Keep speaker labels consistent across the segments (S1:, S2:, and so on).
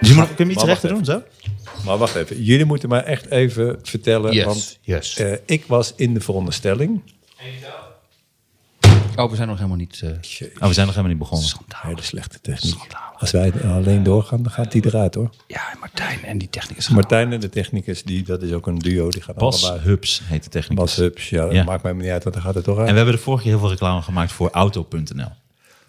S1: je moet, kun je hem iets
S2: Maar wacht
S1: rechter doen, zo?
S2: Maar wacht even, jullie moeten mij echt even vertellen.
S3: Yes,
S2: want
S3: yes.
S2: eh, ik was in de veronderstelling.
S3: Oh, we zijn nog helemaal niet... eh,
S1: Oh, we zijn nog helemaal niet begonnen.
S2: Hele slechte techniek. Als wij alleen doorgaan, dan gaat die eruit hoor.
S3: ja, en Martijn en die technicus.
S2: Martijn en de technicus, die, dat is ook een duo. Die gaan
S1: Bas
S2: allebei.
S1: Hubs heet de technicus.
S2: Bas Hubs, ja, dat
S1: Ja.
S2: maakt mij niet uit, want dan gaat het toch uit.
S1: En we hebben de vorige keer heel veel reclame gemaakt voor auto.nl.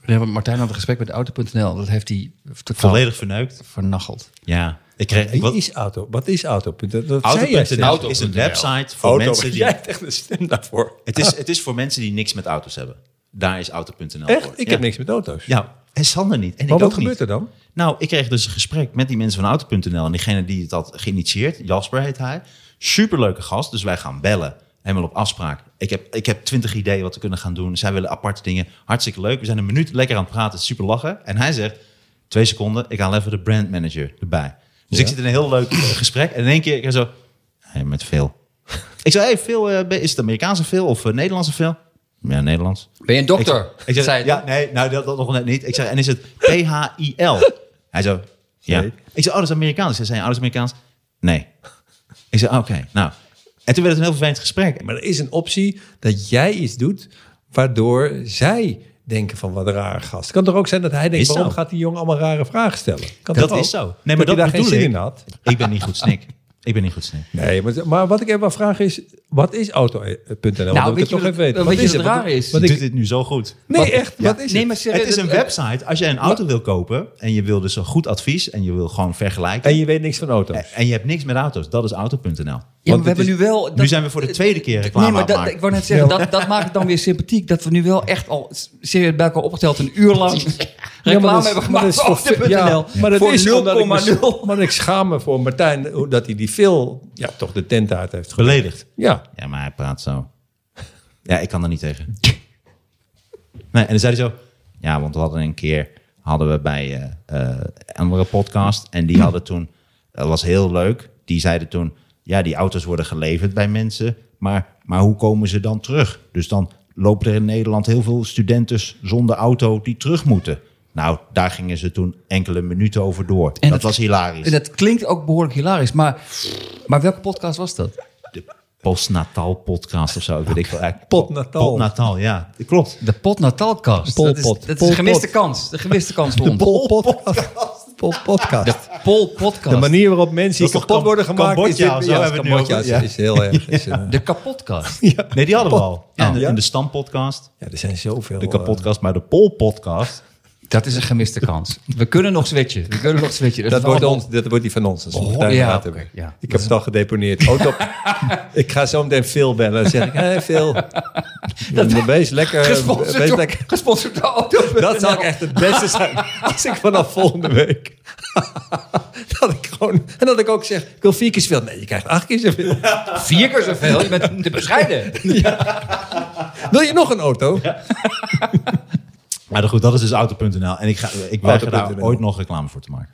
S3: Nee, want Martijn had een gesprek met Auto.nl. Dat heeft hij totaal
S1: Volledig verneukt.
S3: vernacheld.
S1: Ja. Ik kreeg, ik,
S2: Oh. Wie
S1: wat,
S2: is auto? Wat is auto? Dat, dat zei jij
S1: auto.nl
S2: steeds.
S3: Auto.nl.
S1: is een website voor
S2: Auto,
S1: mensen die...
S2: jij hebt echt een stem daarvoor.
S1: Het, is, het is voor mensen die niks met auto's hebben. Daar is auto.nl
S2: Echt?
S1: voor.
S2: Ik
S1: Ja.
S2: heb niks met auto's.
S1: Ja, en Sander niet. En
S2: maar
S1: ik
S2: wat
S1: ook
S2: gebeurt
S1: niet.
S2: er dan?
S1: Nou, ik kreeg dus een gesprek met die mensen van Auto.nl. En diegene die het had geïnitieerd, Jasper heet hij. Superleuke gast, dus wij gaan bellen. Helemaal op afspraak. Ik heb, ik heb twintig ideeën wat we kunnen gaan doen. Zij willen aparte dingen. Hartstikke leuk. We zijn een minuut lekker aan het praten. Super lachen. En hij zegt, twee seconden, ik haal even de brandmanager erbij. Dus ik zit in een heel leuk eh, gesprek. En in één keer, ik ga zo, hey, met veel. ik zei, hey, Phil, eh, is het Amerikaanse veel of eh, Nederlandse veel? Ja, Nederlands.
S3: Ben je een dokter?
S1: Ik, ik zeg,
S3: Zei hij
S1: ja, nee, nou, dat, dat nog net niet. Ik zeg, en is het P-H-I-L? Hij zo, ja.
S2: Nee.
S1: Ik zei, oh, dat is Amerikaans. Hij zei, ouders Amerikaans? Nee. Ik zei, oké, nou. En toen werd het een heel vervelend gesprek.
S2: Maar er is een optie dat jij iets doet waardoor zij denken van wat een rare gast. Het kan toch ook zijn dat hij denkt,
S1: Is zo.
S2: waarom gaat die jongen allemaal rare vragen stellen? Kan
S1: dat
S2: toch ook?
S1: is zo. Nee, maar
S2: je
S1: dat
S2: daar
S1: bedoel
S2: geen zin
S1: ik.
S2: in had.
S1: Ik ben niet goed snik. Ik ben niet goed snik.
S2: Nee, maar, maar wat ik even vraag is, wat is auto.nl? Nou,
S3: weet je
S2: toch
S3: wat-
S2: even weten.
S3: weet je wat
S2: het?
S3: raar is?
S2: Wat
S1: Ik doe
S2: ik,
S1: dit nu zo goed.
S2: nee, echt, wat is
S3: nee,
S2: het?
S3: maar
S1: Het is
S3: serieus,
S1: een
S3: eh,
S1: website. Als jij een auto wil kopen en je wil dus een goed advies en je wil gewoon vergelijken.
S2: En je weet niks van auto's.
S1: En, en je hebt niks met auto's. Dat is auto.nl.
S3: Ja, maar
S2: want
S3: we
S2: het
S3: hebben
S2: is-
S3: nu wel... dat-
S1: Nu zijn we voor de tweede keer reclame
S3: Nee,
S1: aan
S3: maar
S1: het
S3: dat,
S1: maken.
S3: ik wou net zeggen, dat, dat maakt het dan weer sympathiek. Dat we nu wel echt al s- serieus bij elkaar opgeteld een uur lang
S2: Ja,
S3: reclame
S2: maar dat-
S3: hebben
S2: maar dat
S3: gemaakt
S2: is
S3: voor
S2: voor-
S3: auto.nl.
S2: ja, maar dat
S3: voor
S2: is omdat ik me-
S3: 0,0.
S2: Maar ik schaam me voor Martijn eh, hoe dat hij die veel ja, toch de tent uit heeft ge-
S1: Beledigd.
S2: Ja.
S1: Ja, maar hij praat zo. Ja, ik kan er niet tegen. Nee, en dan zei hij zo... Ja, want we hadden een keer... hadden we bij eh, eh, een andere podcast... en die hadden toen... dat was heel leuk. Die zeiden toen... ja, die auto's worden geleverd bij mensen... maar, maar hoe komen ze dan terug? Dus dan lopen er in Nederland heel veel studenten... zonder auto die terug moeten. Nou, daar gingen ze toen enkele minuten over door. dat,
S3: dat-
S1: was hilarisch.
S3: En dat klinkt ook behoorlijk hilarisch, maar, maar welke podcast was dat?
S1: de postnatal podcast of zo. Weet ik wel. Eigenlijk
S2: Potnatal.
S1: Potnatal, ja. Klopt.
S3: De Pot Natalkast.
S2: Pol
S3: Dat is,
S2: Pot.
S3: dat is
S2: Pol
S3: een gemiste
S2: Pot.
S3: kans. De gemiste kans voor
S2: De
S3: ons.
S2: Pol Podcast. Pol Podcast.
S3: De Pol Podcast.
S2: De manier waarop mensen
S1: Dat
S2: hier kapot
S1: is toch
S2: worden
S1: Kam-
S2: gemaakt is
S1: Cambodja of zo
S2: ja,
S1: hebben we het nu
S2: Cambodja
S1: over,
S2: is-
S1: ja.
S2: is heel erg. is, eh,
S3: De kapotkast.
S1: Nee, die hadden we al. En, de-
S2: ja?
S1: en de Stam-podcast,
S2: ja, er zijn zoveel.
S1: de
S2: eh,
S1: Kapodcast, maar de Pol-podcast.
S3: Dat is een gemiste kans. We kunnen nog switchen. We kunnen nog switchen.
S2: dat,
S3: is
S2: wordt
S3: allemaal-
S2: ons, dat wordt die van ons. als we
S3: Oh,
S2: Martijn
S3: ja,
S2: praten.
S3: oké, ja.
S2: Ik heb het al gedeponeerd. Auto, ik ga zo meteen Phil bellen. Dan zeg ik, hé Phil, dat, wees lekker.
S3: Gesponsord
S2: eh, wees
S3: door,
S2: lekker-
S3: gesponsord door auto.nl.
S2: Dat zou ik echt het beste zijn. Als ik vanaf volgende week. dat ik gewoon. En dat ik ook zeg: ik wil vier keer zoveel. Nee, je krijgt acht keer zoveel.
S3: Vier keer zoveel. Je bent te bescheiden.
S2: Wil je nog een auto?
S1: Maar dan goed, dat is dus auto.nl. En ik, ga, ik weiger daar
S2: Auto.nl.
S1: ooit nog reclame voor te maken.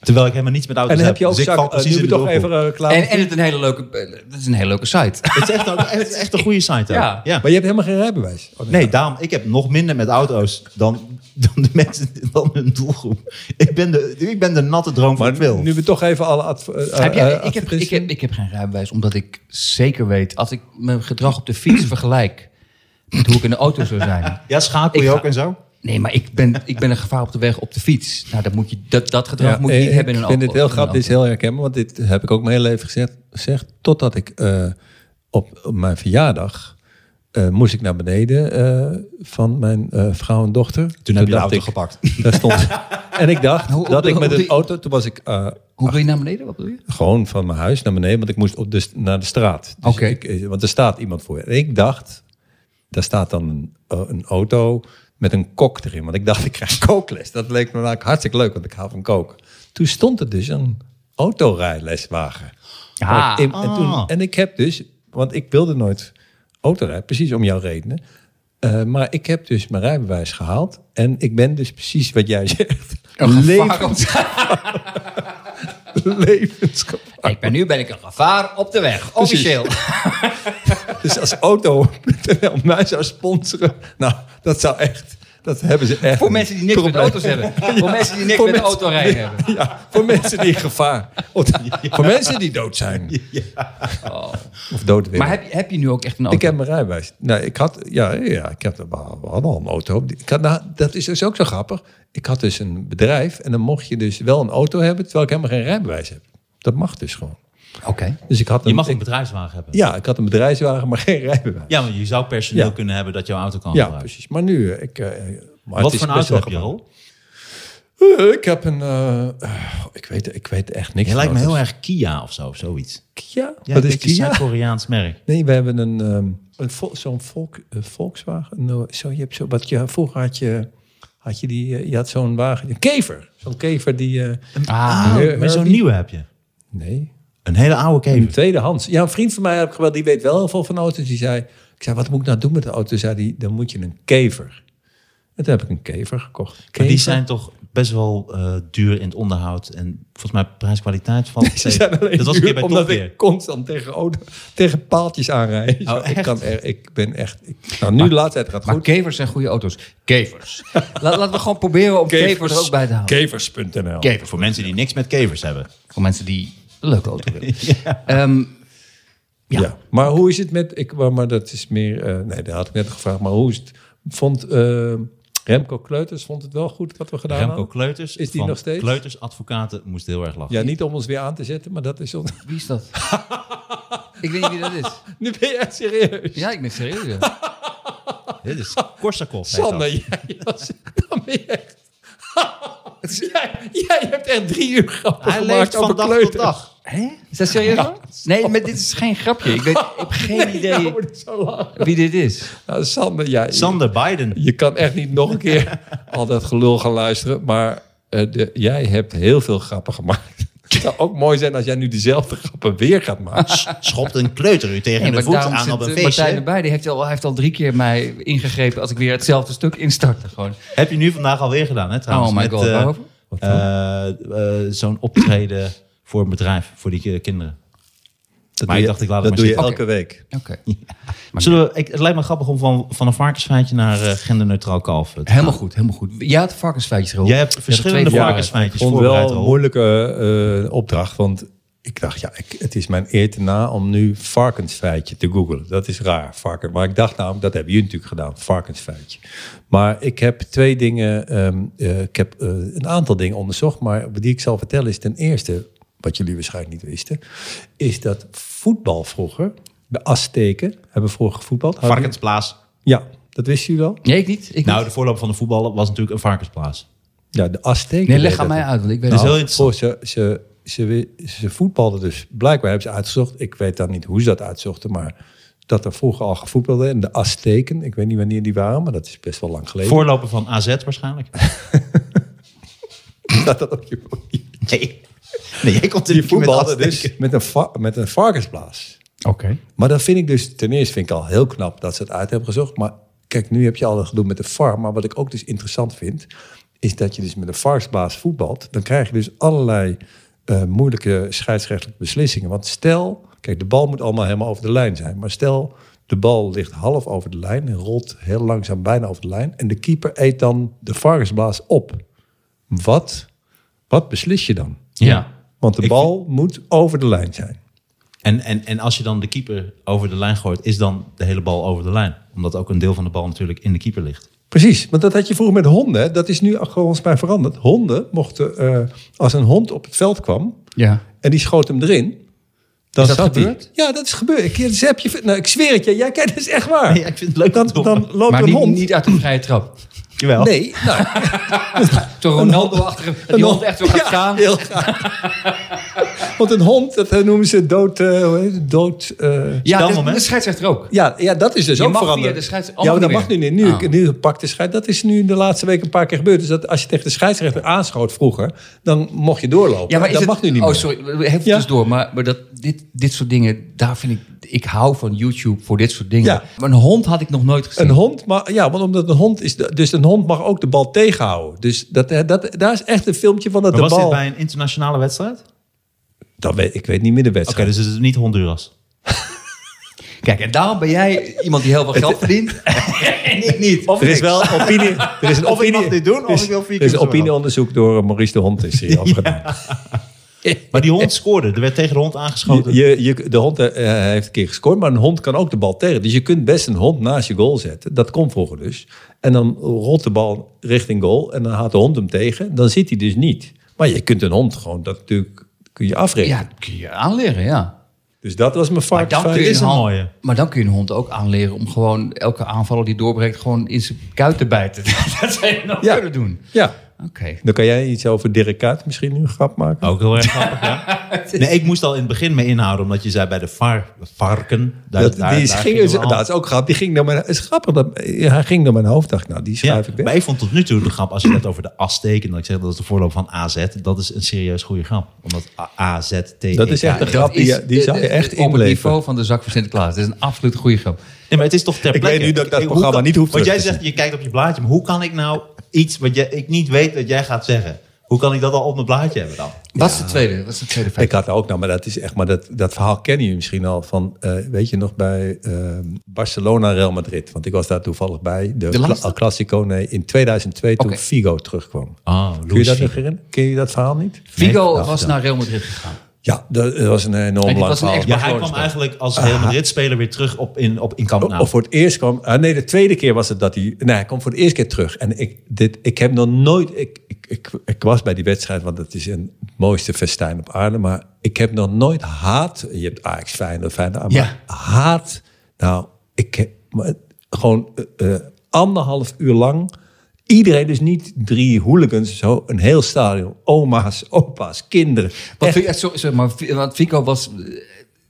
S1: Terwijl ik helemaal niets met auto's
S2: en dan
S1: heb.
S2: heb je ook
S1: dus ik
S2: zak.
S1: val
S2: eh,
S1: precies
S2: nu
S1: in
S2: we
S1: de
S2: toch
S1: doelgroep.
S2: even eh, klaar.
S3: En, en het, een hele leuke, eh, het is een hele leuke site.
S1: Het is echt, ook- het is echt een goede site. ook.
S3: Ja.
S1: ja.
S2: maar je hebt helemaal geen rijbewijs. Oh,
S1: Nee, daarom, ik heb nog minder met auto's dan, dan de mensen, dan hun doelgroep. Ik ben de, ik ben de natte droom van Wil.
S2: Nu we toch even alle adv- eh,
S3: Heb jij-
S2: eh,
S3: ik, heb, ik,
S2: advertenties-
S3: heb, ik heb geen rijbewijs, omdat ik zeker weet... als ik mijn gedrag op de fiets vergelijk... met hoe ik in de auto zou zijn.
S1: Ja, schakel je
S3: Ik ga-
S1: ook en zo?
S3: Nee, maar ik ben, ik ben een gevaar op de weg op de fiets. Nou, dat, moet je, dat, dat gedrag
S2: Ja,
S3: moet je niet
S2: eh,
S3: hebben in een
S2: Ik vind
S3: auto.
S2: dit heel
S3: in een
S2: grappig, dit is heel herkenbaar, want dit heb ik ook mijn hele leven gezegd. gezegd totdat ik eh, op, op mijn verjaardag eh, moest ik naar beneden eh, van mijn eh, vrouw en dochter. Toen,
S1: heb je de
S2: dacht
S1: auto
S2: ik-
S1: gepakt.
S2: Daar stond, en ik dacht
S3: Hoe- hoe
S2: dat
S3: bedoel-
S2: ik met
S3: hoe
S2: een
S3: die-
S2: auto, toen was ik eh,
S3: Hoe wil je naar beneden? Wat wil je?
S2: gewoon van mijn huis naar beneden, want ik moest op de, st- naar de straat. Dus
S3: Oké.
S2: ik, eh, want er staat iemand voor. En ik dacht, daar staat dan een, eh, een auto met een kok erin. Want ik dacht, ik krijg kookles. Dat leek me namelijk hartstikke leuk, want ik hou van koken. Toen stond er dus een autorijleswagen. Waar ik in- en,
S1: ah.
S2: toen, en ik heb dus, want ik wilde nooit autorijden, precies om jouw redenen. Eh, maar ik heb dus mijn rijbewijs gehaald. En ik ben dus precies wat jij zegt.
S3: gevaar op de-
S2: levensgevaarlijk.
S3: Ik ben, nu ben ik een gevaar op de weg. Officieel.
S2: Dus als auto.nl mij zou sponsoren, nou, dat zou echt... Dat hebben ze echt.
S3: Voor
S2: niet.
S3: mensen die niks met auto's hebben. Voor mensen die niks
S2: Voor
S3: met
S2: mensen-
S3: autorijden hebben.
S2: Ja, voor mensen die in gevaar. Of, Voor mensen die dood zijn.
S3: Oh.
S2: Of dood willen.
S3: Maar heb, je- heb je nu ook echt een auto?
S2: Ik heb mijn rijbewijs. Nou, ik had, ja, ja, ik heb, we hadden al een auto. Ik had, nou, dat is dus ook zo grappig. Ik had dus een bedrijf en dan mocht je dus wel een auto hebben, terwijl ik helemaal geen rijbewijs heb. Dat mag dus gewoon.
S3: Oké.
S2: Dus ik had een,
S1: Je mag een
S2: ik-
S1: bedrijfswagen hebben. Ja,
S2: ja, ik had een bedrijfswagen, maar geen rijbewijs.
S1: maar je zou personeel
S2: Ja.
S1: kunnen hebben dat jouw auto kan
S2: Ja,
S1: gebruiken.
S2: precies. Maar nu, eh, ik. eh, maar het
S1: Wat
S2: is
S1: voor een
S2: best
S1: auto
S2: wel
S1: heb je
S2: gemakkelijk.
S1: al?
S2: Eh, Ik heb een. eh, eh, ik, weet, ik weet echt niks.
S1: Je
S2: van
S1: lijkt me
S2: auto's.
S1: heel erg Kia of zo, of zoiets.
S2: Kia.
S1: dus. Ja,
S2: Wat
S1: een
S2: is
S1: beetje
S2: Kia?
S1: Zuid-Koreaans merk.
S2: Nee, we hebben een, ehm, een Vol- zo'n Volk, eh, Volkswagen. Nou, zo, je hebt zo, wat je, vroeger had je, had je, die, eh, je had zo'n wagen, een kever. Zo'n kever die... eh,
S3: Ah,
S1: Ah,
S2: Her-
S1: maar zo'n
S2: Herbie?
S1: nieuwe heb je.
S2: nee,
S1: Een hele oude
S2: een
S1: Kia.
S2: tweedehands. Ja, een vriend van mij heb ik gebeld, die weet wel heel veel van auto's. Die zei, ik zei, wat moet ik nou doen met de auto? Toen zei die, dan moet je een kever. En toen heb ik een kever gekocht.
S1: Maar die
S2: Kever?
S1: zijn toch best wel eh, duur in het onderhoud. En volgens mij prijs-kwaliteit valt
S2: Ze
S1: tegen.
S2: zijn alleen
S1: Dat was een
S2: duur
S1: keer bij
S2: omdat
S1: Top Gear.
S2: ik constant tegen, auto, tegen paaltjes aanrijd.
S1: Oh,
S2: Zo, ik,
S1: echt?
S2: kan er, ik ben echt... Ik, nou, nu de laatste tijd gaat het
S3: maar
S2: goed.
S3: kevers zijn goede auto's. Kevers. Laat- Laten we gewoon proberen om kevers, er ook bij te houden.
S2: Kevers.nl
S3: Kevers.
S1: Voor mensen die niks met kevers hebben.
S3: Voor mensen die een leuke auto willen. Ehm,
S2: Ja. Maar hoe is het met... Ik, maar, maar dat is meer... eh, nee, daar had ik net gevraagd. Maar hoe is het... Vond eh, Remco Kleuters vond het wel goed wat we gedaan
S1: Remco
S2: hadden?
S1: Kleuters.
S2: Is die
S1: van
S2: nog steeds?
S1: Kleuters advocaten moest heel erg lachen.
S2: Ja, niet om ons weer aan te zetten, maar dat is... On...
S3: wie is dat? ik weet niet wie dat is.
S2: nu ben je echt serieus.
S3: Ja, ik ben serieus. ja.
S1: Dit is Korsakoff. heet dat.
S2: Sander, jij was... Dan ben je echt... jij, jij hebt echt drie uur grappen
S1: Hij
S2: gemaakt
S1: leeft
S2: over
S1: van dag
S2: Kleuters.
S1: tot dag.
S3: Hè? Is dat serieus? hoor? nee, maar dit is geen grapje. Ik, weet, ik heb geen idee
S2: Ja, maar dit Oh, is zo laag.
S3: wie dit is.
S2: Nou, Sander, jij...
S1: Sander Biden.
S2: Je kan echt niet nog een keer al dat gelul gaan luisteren. Maar eh, de, jij hebt heel veel grappen gemaakt. Het zou ook mooi zijn als jij nu dezelfde grappen weer gaat maken.
S1: S- Schopt een kleuter u tegen
S3: Nee,
S1: de
S3: maar
S1: voet
S3: daarom
S1: aan
S3: zit
S1: op een
S3: eh, Martijn
S1: feestje.
S3: erbij. Die heeft al, hij heeft al drie keer mij ingegrepen als ik weer hetzelfde stuk instartte. Gewoon.
S1: Heb je nu vandaag alweer gedaan, hè? Trouwens,
S3: Oh my
S1: met,
S3: god,
S1: eh,
S3: waarover?
S1: eh, eh, Zo'n optreden voor een bedrijf, voor die ki- kinderen.
S2: Dat
S1: Maar ik dacht, ik laat het maar zitten. Oh,
S2: elke week.
S3: Oké.
S1: Zullen we, ik, het lijkt me grappig om van, van een varkensfeitje naar eh, genderneutraal kalf te
S3: Helemaal goed, helemaal goed. Jij had varkensfeitjes geroepen.
S1: Jij hebt verschillende
S3: twee
S1: varkensfeitjes
S2: vond
S1: voorbereid.
S2: wel een
S1: Roel.
S2: moeilijke eh, opdracht. Want ik dacht, ja, ik, het is mijn eer te na om nu varkensfeitje te googlen. Dat is raar, varken. Maar ik dacht namelijk, dat hebben jullie natuurlijk gedaan, varkensfeitje. Maar ik heb twee dingen, ehm, eh, ik heb eh, een aantal dingen onderzocht. Maar die ik zal vertellen is ten eerste, wat jullie waarschijnlijk niet wisten... is dat voetbal vroeger, de Azteken hebben vroeger gevoetbald. Hadden jullie-
S1: Varkensplaats.
S2: Ja, dat wisten jullie al?
S3: Nee, ik niet. Ik
S1: Nou,
S3: niet.
S1: de voorloper van de voetballen was natuurlijk een varkensplaats.
S2: Ja, de Azteken.
S3: Nee, leg
S2: deden
S3: aan
S2: dat.
S3: mij uit, want ik weet
S1: Dus
S3: het
S1: heel
S2: Nou,
S1: interessant.
S2: Voor ze, ze, ze, wi- ze voetbalden dus. Blijkbaar hebben ze uitgezocht. Ik weet dan niet hoe ze dat uitzochten, maar dat er vroeger al gevoetbald werd. En de Azteken, ik weet niet wanneer die waren, maar dat is best wel lang geleden.
S1: Voorloper van AZ waarschijnlijk.
S2: dat dat ook je
S1: Nee, nee jij komt
S2: die
S1: in
S2: voetbalden dus met een, va- met een varkensplaats.
S3: Oké.
S2: Maar dat vind ik dus, ten eerste vind ik al heel knap dat ze het uit hebben gezocht. Maar kijk, nu heb je al het gedoe met de VAR. Maar wat ik ook dus interessant vind, is dat je dus met een VAR-baas voetbalt. Dan krijg je dus allerlei eh, moeilijke scheidsrechtelijke beslissingen. Want stel, kijk, de bal moet allemaal helemaal over de lijn zijn. Maar stel, de bal ligt half over de lijn en rolt heel langzaam bijna over de lijn. En de keeper eet dan de varkensbaas op. Wat, wat beslis je dan?
S1: Ja.
S2: Want de
S1: Ik
S2: bal moet over de lijn zijn.
S1: En, en, en als je dan de keeper over de lijn gooit, is dan de hele bal over de lijn. Omdat ook een deel van de bal natuurlijk in de keeper ligt.
S2: Precies, want dat had je vroeger met honden. hè. Dat is nu gewoon volgens mij veranderd. Honden mochten, eh, als een hond op het veld kwam
S3: Ja.
S2: en die schoot hem erin. Dan
S3: Is dat
S2: zat die-
S3: gebeurd?
S2: Ja, dat is gebeurd. Ik, dat heb je, nou, ik zweer het je, jij kijkt, dat is echt waar.
S1: Nee, ik vind het leuk
S2: Dan,
S1: dat-
S2: dan loopt
S3: maar
S2: Oh, een
S3: niet,
S2: hond.
S3: niet uit de vrije trap.
S1: Jawel.
S2: nee, nou,
S3: Zo'n Ronaldo achter hem, dat die hond echt zo gaat
S2: Ja,
S3: staan.
S2: heel graag. Want een hond, dat eh, noemen ze dood. eh, hoe heet het? dood eh,
S3: Ja,
S1: Stel
S3: dat-
S1: moment.
S3: de scheidsrechter ook.
S2: Ja, ja, dat is dus
S3: Je
S2: ook
S3: mag via
S2: veranderd.
S3: de scheids-
S2: ja, maar dat
S3: allemaal
S2: mag nu
S3: niet
S2: niet.
S3: meer.
S2: Nu,
S3: Ah.
S2: nu pakt de scheids. Dat is nu de laatste week een paar keer gebeurd. Dus dat als je tegen de scheidsrechter aanschoot vroeger, dan mocht je doorlopen.
S3: Ja, maar is
S2: dat
S3: het-
S2: mag nu niet meer.
S3: Oh, sorry. Even
S2: Ja.
S3: tussendoor. Maar, maar dat, dit, dit soort dingen, daar vind ik... Ik hou van YouTube voor dit soort dingen.
S2: Ja.
S3: Maar een hond had ik nog nooit gezien.
S2: Een hond, maar ja, want omdat een hond is, de- dus een hond mag ook de bal tegenhouden. Dus dat, eh, dat, daar is echt een filmpje van dat
S1: Maar
S2: de
S1: was
S2: bal.
S1: dit bij een internationale wedstrijd? Oké,
S2: Dat weet, ik weet niet meer de wedstrijd.
S1: dus het is niet Honduras.
S3: Kijk, en daarom ben jij iemand die heel veel geld verdient. en ik niet.
S2: er is wel opinie. Er is een
S1: Of ik
S2: opinie.
S1: mag dit doen, of
S2: er is-
S1: ik wil vier
S2: Er is
S1: keer
S2: een
S1: zo
S2: opinieonderzoek door eh, Maurice de Hond is hier afgedaan.
S1: Maar die hond scoorde. Er werd tegen de hond aangeschoten.
S2: Je, je, de hond eh, heeft een keer gescoord, maar een hond kan ook de bal tegen. Dus je kunt best een hond naast je goal zetten. Dat kon vroeger dus. En dan rolt de bal richting goal en dan haalt de hond hem tegen. Dan zit hij dus niet. Maar je kunt een hond gewoon, dat natuurlijk kun je afrekenen.
S3: Ja, dat kun je aanleren, ja.
S2: Dus dat was mijn
S3: Maar dan,
S2: varkensvijf.
S3: kun je
S1: is een
S3: hond-
S1: mooie.
S3: maar dan kun je een hond ook aanleren om gewoon elke aanvaller die doorbreekt gewoon in zijn kuit te bijten. dat zou je nog
S2: Ja.
S3: kunnen doen.
S2: Ja,
S3: Oké.
S2: dan kan jij iets over Dirk Kuyt misschien nu een grap maken.
S1: Ook heel erg grappig, ja. Nee, ik moest al in het begin mee inhouden, omdat je zei bij de var- varken. Daar,
S2: dat,
S1: daar-
S2: die is-
S1: daar
S2: ging,
S1: gingen we al.
S2: dat is ook grappig. Die ging naar mijn, het is grappig, dat, hij ging naar mijn hoofd. dacht ik, nou, die
S1: ja,
S2: schrijf ik weg.
S1: maar ik vond tot nu toe de grap, als je het net over de Azteken, en dat ik zeg dat is de voorloop van AZ, dat is een serieus goede grap. Omdat A- E, AZT.
S2: Dat is echt een grap, die, je- die
S3: eh,
S2: zou je
S3: eh,
S2: echt
S3: Op het
S2: inleven.
S3: niveau van de zak van Sinterklaas. Dat is een absoluut goede grap.
S1: Nee, maar het is toch ter
S2: Ik
S1: plekke.
S2: weet nu dat ik dat
S1: Hoe
S2: programma
S1: kan-
S2: niet hoef
S1: Want
S2: terug
S1: jij
S2: te
S1: zegt, je kijkt op je blaadje, maar hoe kan ik nou iets wat jij, ik niet weet dat jij gaat zeggen? Hoe kan ik dat al op mijn blaadje hebben dan?
S3: Wat is de tweede? Wat is de tweede feit?
S2: Ik had er ook nou, maar dat is echt, maar dat, dat verhaal kennen jullie misschien al van, eh, weet je nog bij eh, Barcelona Real Madrid, want ik was daar toevallig bij de,
S3: De laatste?
S2: Cla- Clasico, nee, in 2002 toen
S3: Oké.
S2: Figo terugkwam.
S1: Ah,
S2: Kun je dat nog herinneren? Ken je dat verhaal niet?
S3: Vigo
S2: Nee,
S3: was
S2: nou,
S3: naar Real Madrid gegaan.
S2: Ja, dat dat was een
S3: En
S2: enorm
S3: die
S2: lang
S3: was een
S2: verhaal.
S3: ex-
S1: Ja, hij
S3: Barcelona
S1: kwam
S3: speelt.
S1: eigenlijk als Real Madrid-speler weer terug op in, op, in Camp Nou.
S2: Oh, Of voor het eerst kwam. ah, nee, de tweede keer was het dat hij. Nee, hij kwam voor de eerste keer terug. En ik, dit, ik heb nog nooit. Ik, ik, ik, ik was bij die wedstrijd, want het is een mooiste festijn op aarde. Maar ik heb nog nooit haat. Je hebt Ajax Feyenoord, Feyenoord. Maar
S3: Ja.
S2: haat. Nou, ik heb maar gewoon eh, eh, anderhalf uur lang. Iedereen, dus niet drie hooligans, zo een heel stadion. Oma's, opa's, kinderen.
S3: Wat
S2: Echt
S3: vind je, eh, sorry, sorry, maar Vi- want Vigo was, eh,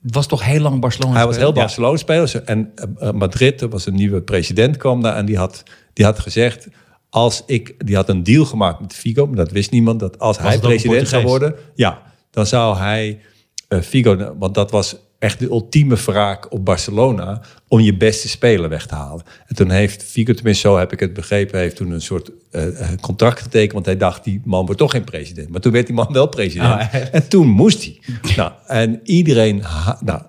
S3: was toch heel lang Barcelona.
S2: Hij was heel
S3: speler?
S2: Barcelona speler. En eh, eh, Madrid, er was een nieuwe president, kwam daar. En die had, die had gezegd, als ik, die had een deal gemaakt met Figo. Maar dat wist niemand, dat als hij
S1: het ook een
S2: president zou
S1: Portugees?
S2: worden. Ja, dan zou hij eh, Figo, want dat was echt de ultieme wraak op Barcelona. Om je beste speler weg te halen. En toen heeft Figo, tenminste zo heb ik het begrepen, heeft toen een soort eh, eh, contract getekend. Want hij dacht, die man wordt toch geen president. Maar toen werd die man wel president.
S1: Oh, echt?
S2: en toen moest hij. Nou, en iedereen, ha- nou,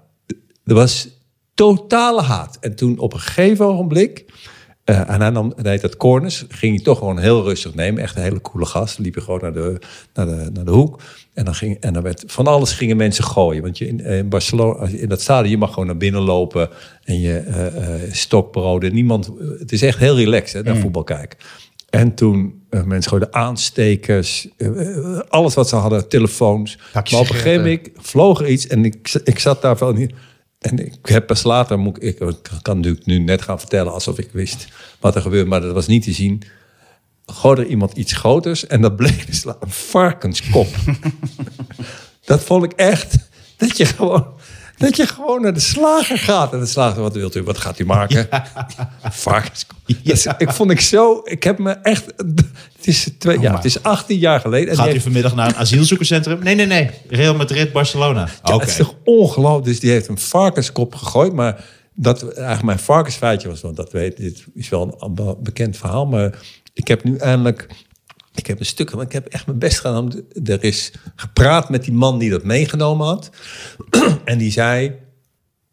S2: er was totale haat. En toen op een gegeven ogenblik, eh, en hij nam, hij heet dat corners, ging hij toch gewoon heel rustig nemen. Echt een hele coole gast. Liep hij gewoon naar de, naar de, naar de hoek. En dan, ging, en dan werd van alles gingen mensen gooien. Want je in, eh, in Barcelona, als je in dat stadion, je mag gewoon naar binnen lopen. En je eh, eh, stokbroden. Niemand, het is echt heel relaxed hè, naar voetbal kijken. En toen eh, mensen gooiden aanstekers, eh, eh, alles wat ze hadden, telefoons.
S3: Pakjes
S2: maar op een
S3: sigaretten.
S2: gegeven moment ik vloog er iets en ik, ik zat daar van hier. En ik heb pas later, moet ik, ik kan natuurlijk nu net gaan vertellen alsof ik wist wat er gebeurde, maar dat was niet te zien. Gooide er iemand iets groters en dat bleek dus la- een varkenskop. dat vond ik echt, dat je gewoon, dat je gewoon naar de slager gaat. En de slager, wat wilt u, wat gaat u maken? Varkenskop. Dat is- ik vond ik zo, ik heb me echt, het is, twee, ja, het is 18 jaar geleden. En die
S1: Gaat u
S2: heeft-
S1: vanmiddag naar een asielzoekerscentrum? Nee, nee, nee. Real Madrid, Barcelona.
S2: Ja,
S1: Oké.
S2: Het is toch ongelooflijk. Dus die heeft een varkenskop gegooid. Maar dat eigenlijk mijn varkensfeitje was. Want dat weet, dit is wel een be- bekend verhaal. Maar ik heb nu eindelijk. Ik heb een stuk, maar ik heb echt mijn best gedaan. om te- Er is gepraat met die man die dat meegenomen had. en die zei.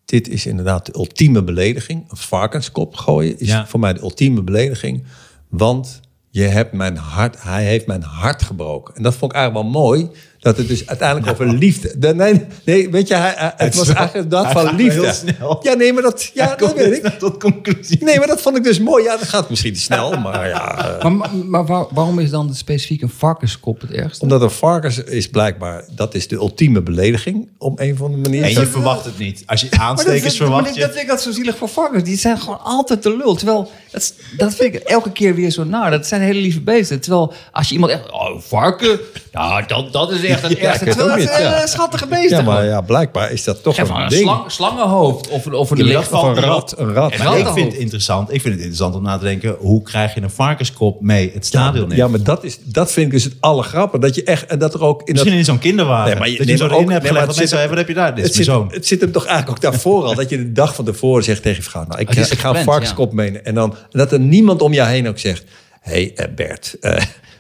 S2: Dit is inderdaad de ultieme belediging. Een varkenskop gooien is
S1: Ja.
S2: voor mij de ultieme belediging. Want je hebt mijn hart, hij heeft mijn hart gebroken. En dat vond ik eigenlijk wel mooi. Dat het dus uiteindelijk over liefde. De- Nee, nee, weet je, hij, hij- het was
S1: Nou. wel-
S2: eigenlijk dat
S1: hij
S2: van
S1: gaat wel heel
S2: liefde.
S1: snel.
S2: Ja, nee, maar dat, ja, dat weet ik.
S1: Tot conclusie.
S2: Nee, maar dat vond ik dus mooi. Ja, dat gaat misschien te snel, maar ja. eh,
S3: Maar, maar, maar waar- waarom is dan specifiek een varkenskop het ergste?
S2: Omdat een varkens is blijkbaar, dat is de ultieme belediging op een of andere manier.
S1: En je verwacht het niet. Als je aanstekers verwacht
S3: Dat
S1: je...
S3: vind ik dat zo zielig voor varkens. Die zijn gewoon altijd te lul. Terwijl, dat, is- dat vind ik elke keer weer zo naar. Dat zijn hele lieve beesten. Terwijl, als je iemand echt... Oh, varken? Nou, dat, dat is echt het ergste.
S2: ik weet
S3: Terwijl,
S2: ook
S3: dat
S2: niet,
S3: zijn
S2: ja.
S3: eh, schattige beesten.
S2: ja, maar
S3: gewoon.
S2: ja, blijkbaar is dat toch
S3: Geef maar
S2: een
S3: een
S2: ding.
S3: slang- slangenhoofd of een, of een
S1: Ja, maar
S3: licht.
S1: dat valt
S2: een
S1: wel.
S2: rat, een rat.
S1: Maar ik
S3: Ja.
S1: vind, het interessant, ik vind het interessant om na te denken... hoe krijg je een varkenskop mee het stadion in?
S2: Ja, maar dat, is, dat vind ik dus het allergrappig. Dat je echt, en dat er ook in dat
S1: Misschien in zo'n kinderwagen.
S2: Nee, maar je-
S1: dat
S2: nee,
S1: je zo
S2: maar
S1: erin
S2: ook-
S1: hebt
S2: nee, maar
S1: gelegd.
S2: het
S1: dat
S2: zit-
S1: mensen zeggen, wat heb je daar? Dit
S2: het,
S1: is mijn
S2: zit,
S1: zoon.
S2: het zit hem toch eigenlijk ook daarvoor al. Dat je de dag van tevoren zegt tegen je vrouw...
S1: Oh,
S2: Nou, ik,
S3: Het is
S2: ik ga een
S3: gepland,
S2: varkenskop menen. En dan dat er niemand om je heen ook zegt... Hé eh, hey, Bert, eh,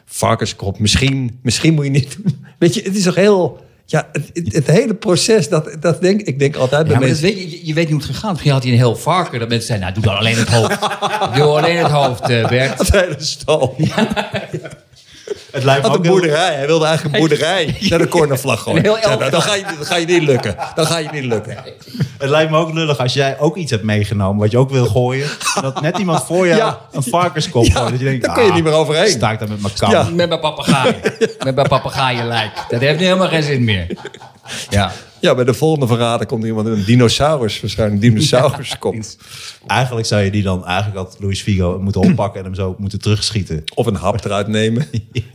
S2: varkenskop, misschien, misschien moet je niet doen. Weet je, het is toch heel... Ja, het, het, het hele proces, dat, dat denk, ik denk altijd bij
S3: Ja, maar dat
S2: mensen...
S3: weet je, je, je weet niet hoe het gegaan is. Misschien had hij een heel varken. Dat mensen zeiden, nou, doe dan alleen het hoofd. doe alleen het hoofd, eh, Bert.
S2: Het hele stal.
S1: Het lijkt me
S2: had
S1: ook
S2: een
S1: heel-
S2: boerderij. Hij wilde eigenlijk een boerderij naar de cornervlag gooien.
S3: Een heel
S2: Ja,
S3: elftal.
S2: dan, ga je, dan ga je niet lukken. Dan ga je niet lukken.
S1: Het lijkt me ook lullig als jij ook iets hebt meegenomen wat je ook wil gooien. en Dat net iemand voor jou
S2: Ja.
S1: een varkenskop
S2: Ja,
S1: gooit. Dat je denkt,
S2: daar kun je
S1: ah,
S2: niet meer overheen.
S1: Sta ik daar met mijn kam.
S2: Ja.
S3: Met mijn papegaai. Met mijn papegaaienlijk. Dat heeft nu helemaal geen zin meer. Ja.
S2: Ja, bij de volgende verrader komt iemand met een dinosaurus. Waarschijnlijk een dinosauruskop.
S1: Eigenlijk zou je die dan eigenlijk had Luis Figo moeten oppakken en hem zo moeten terugschieten.
S2: Of een hap eruit nemen.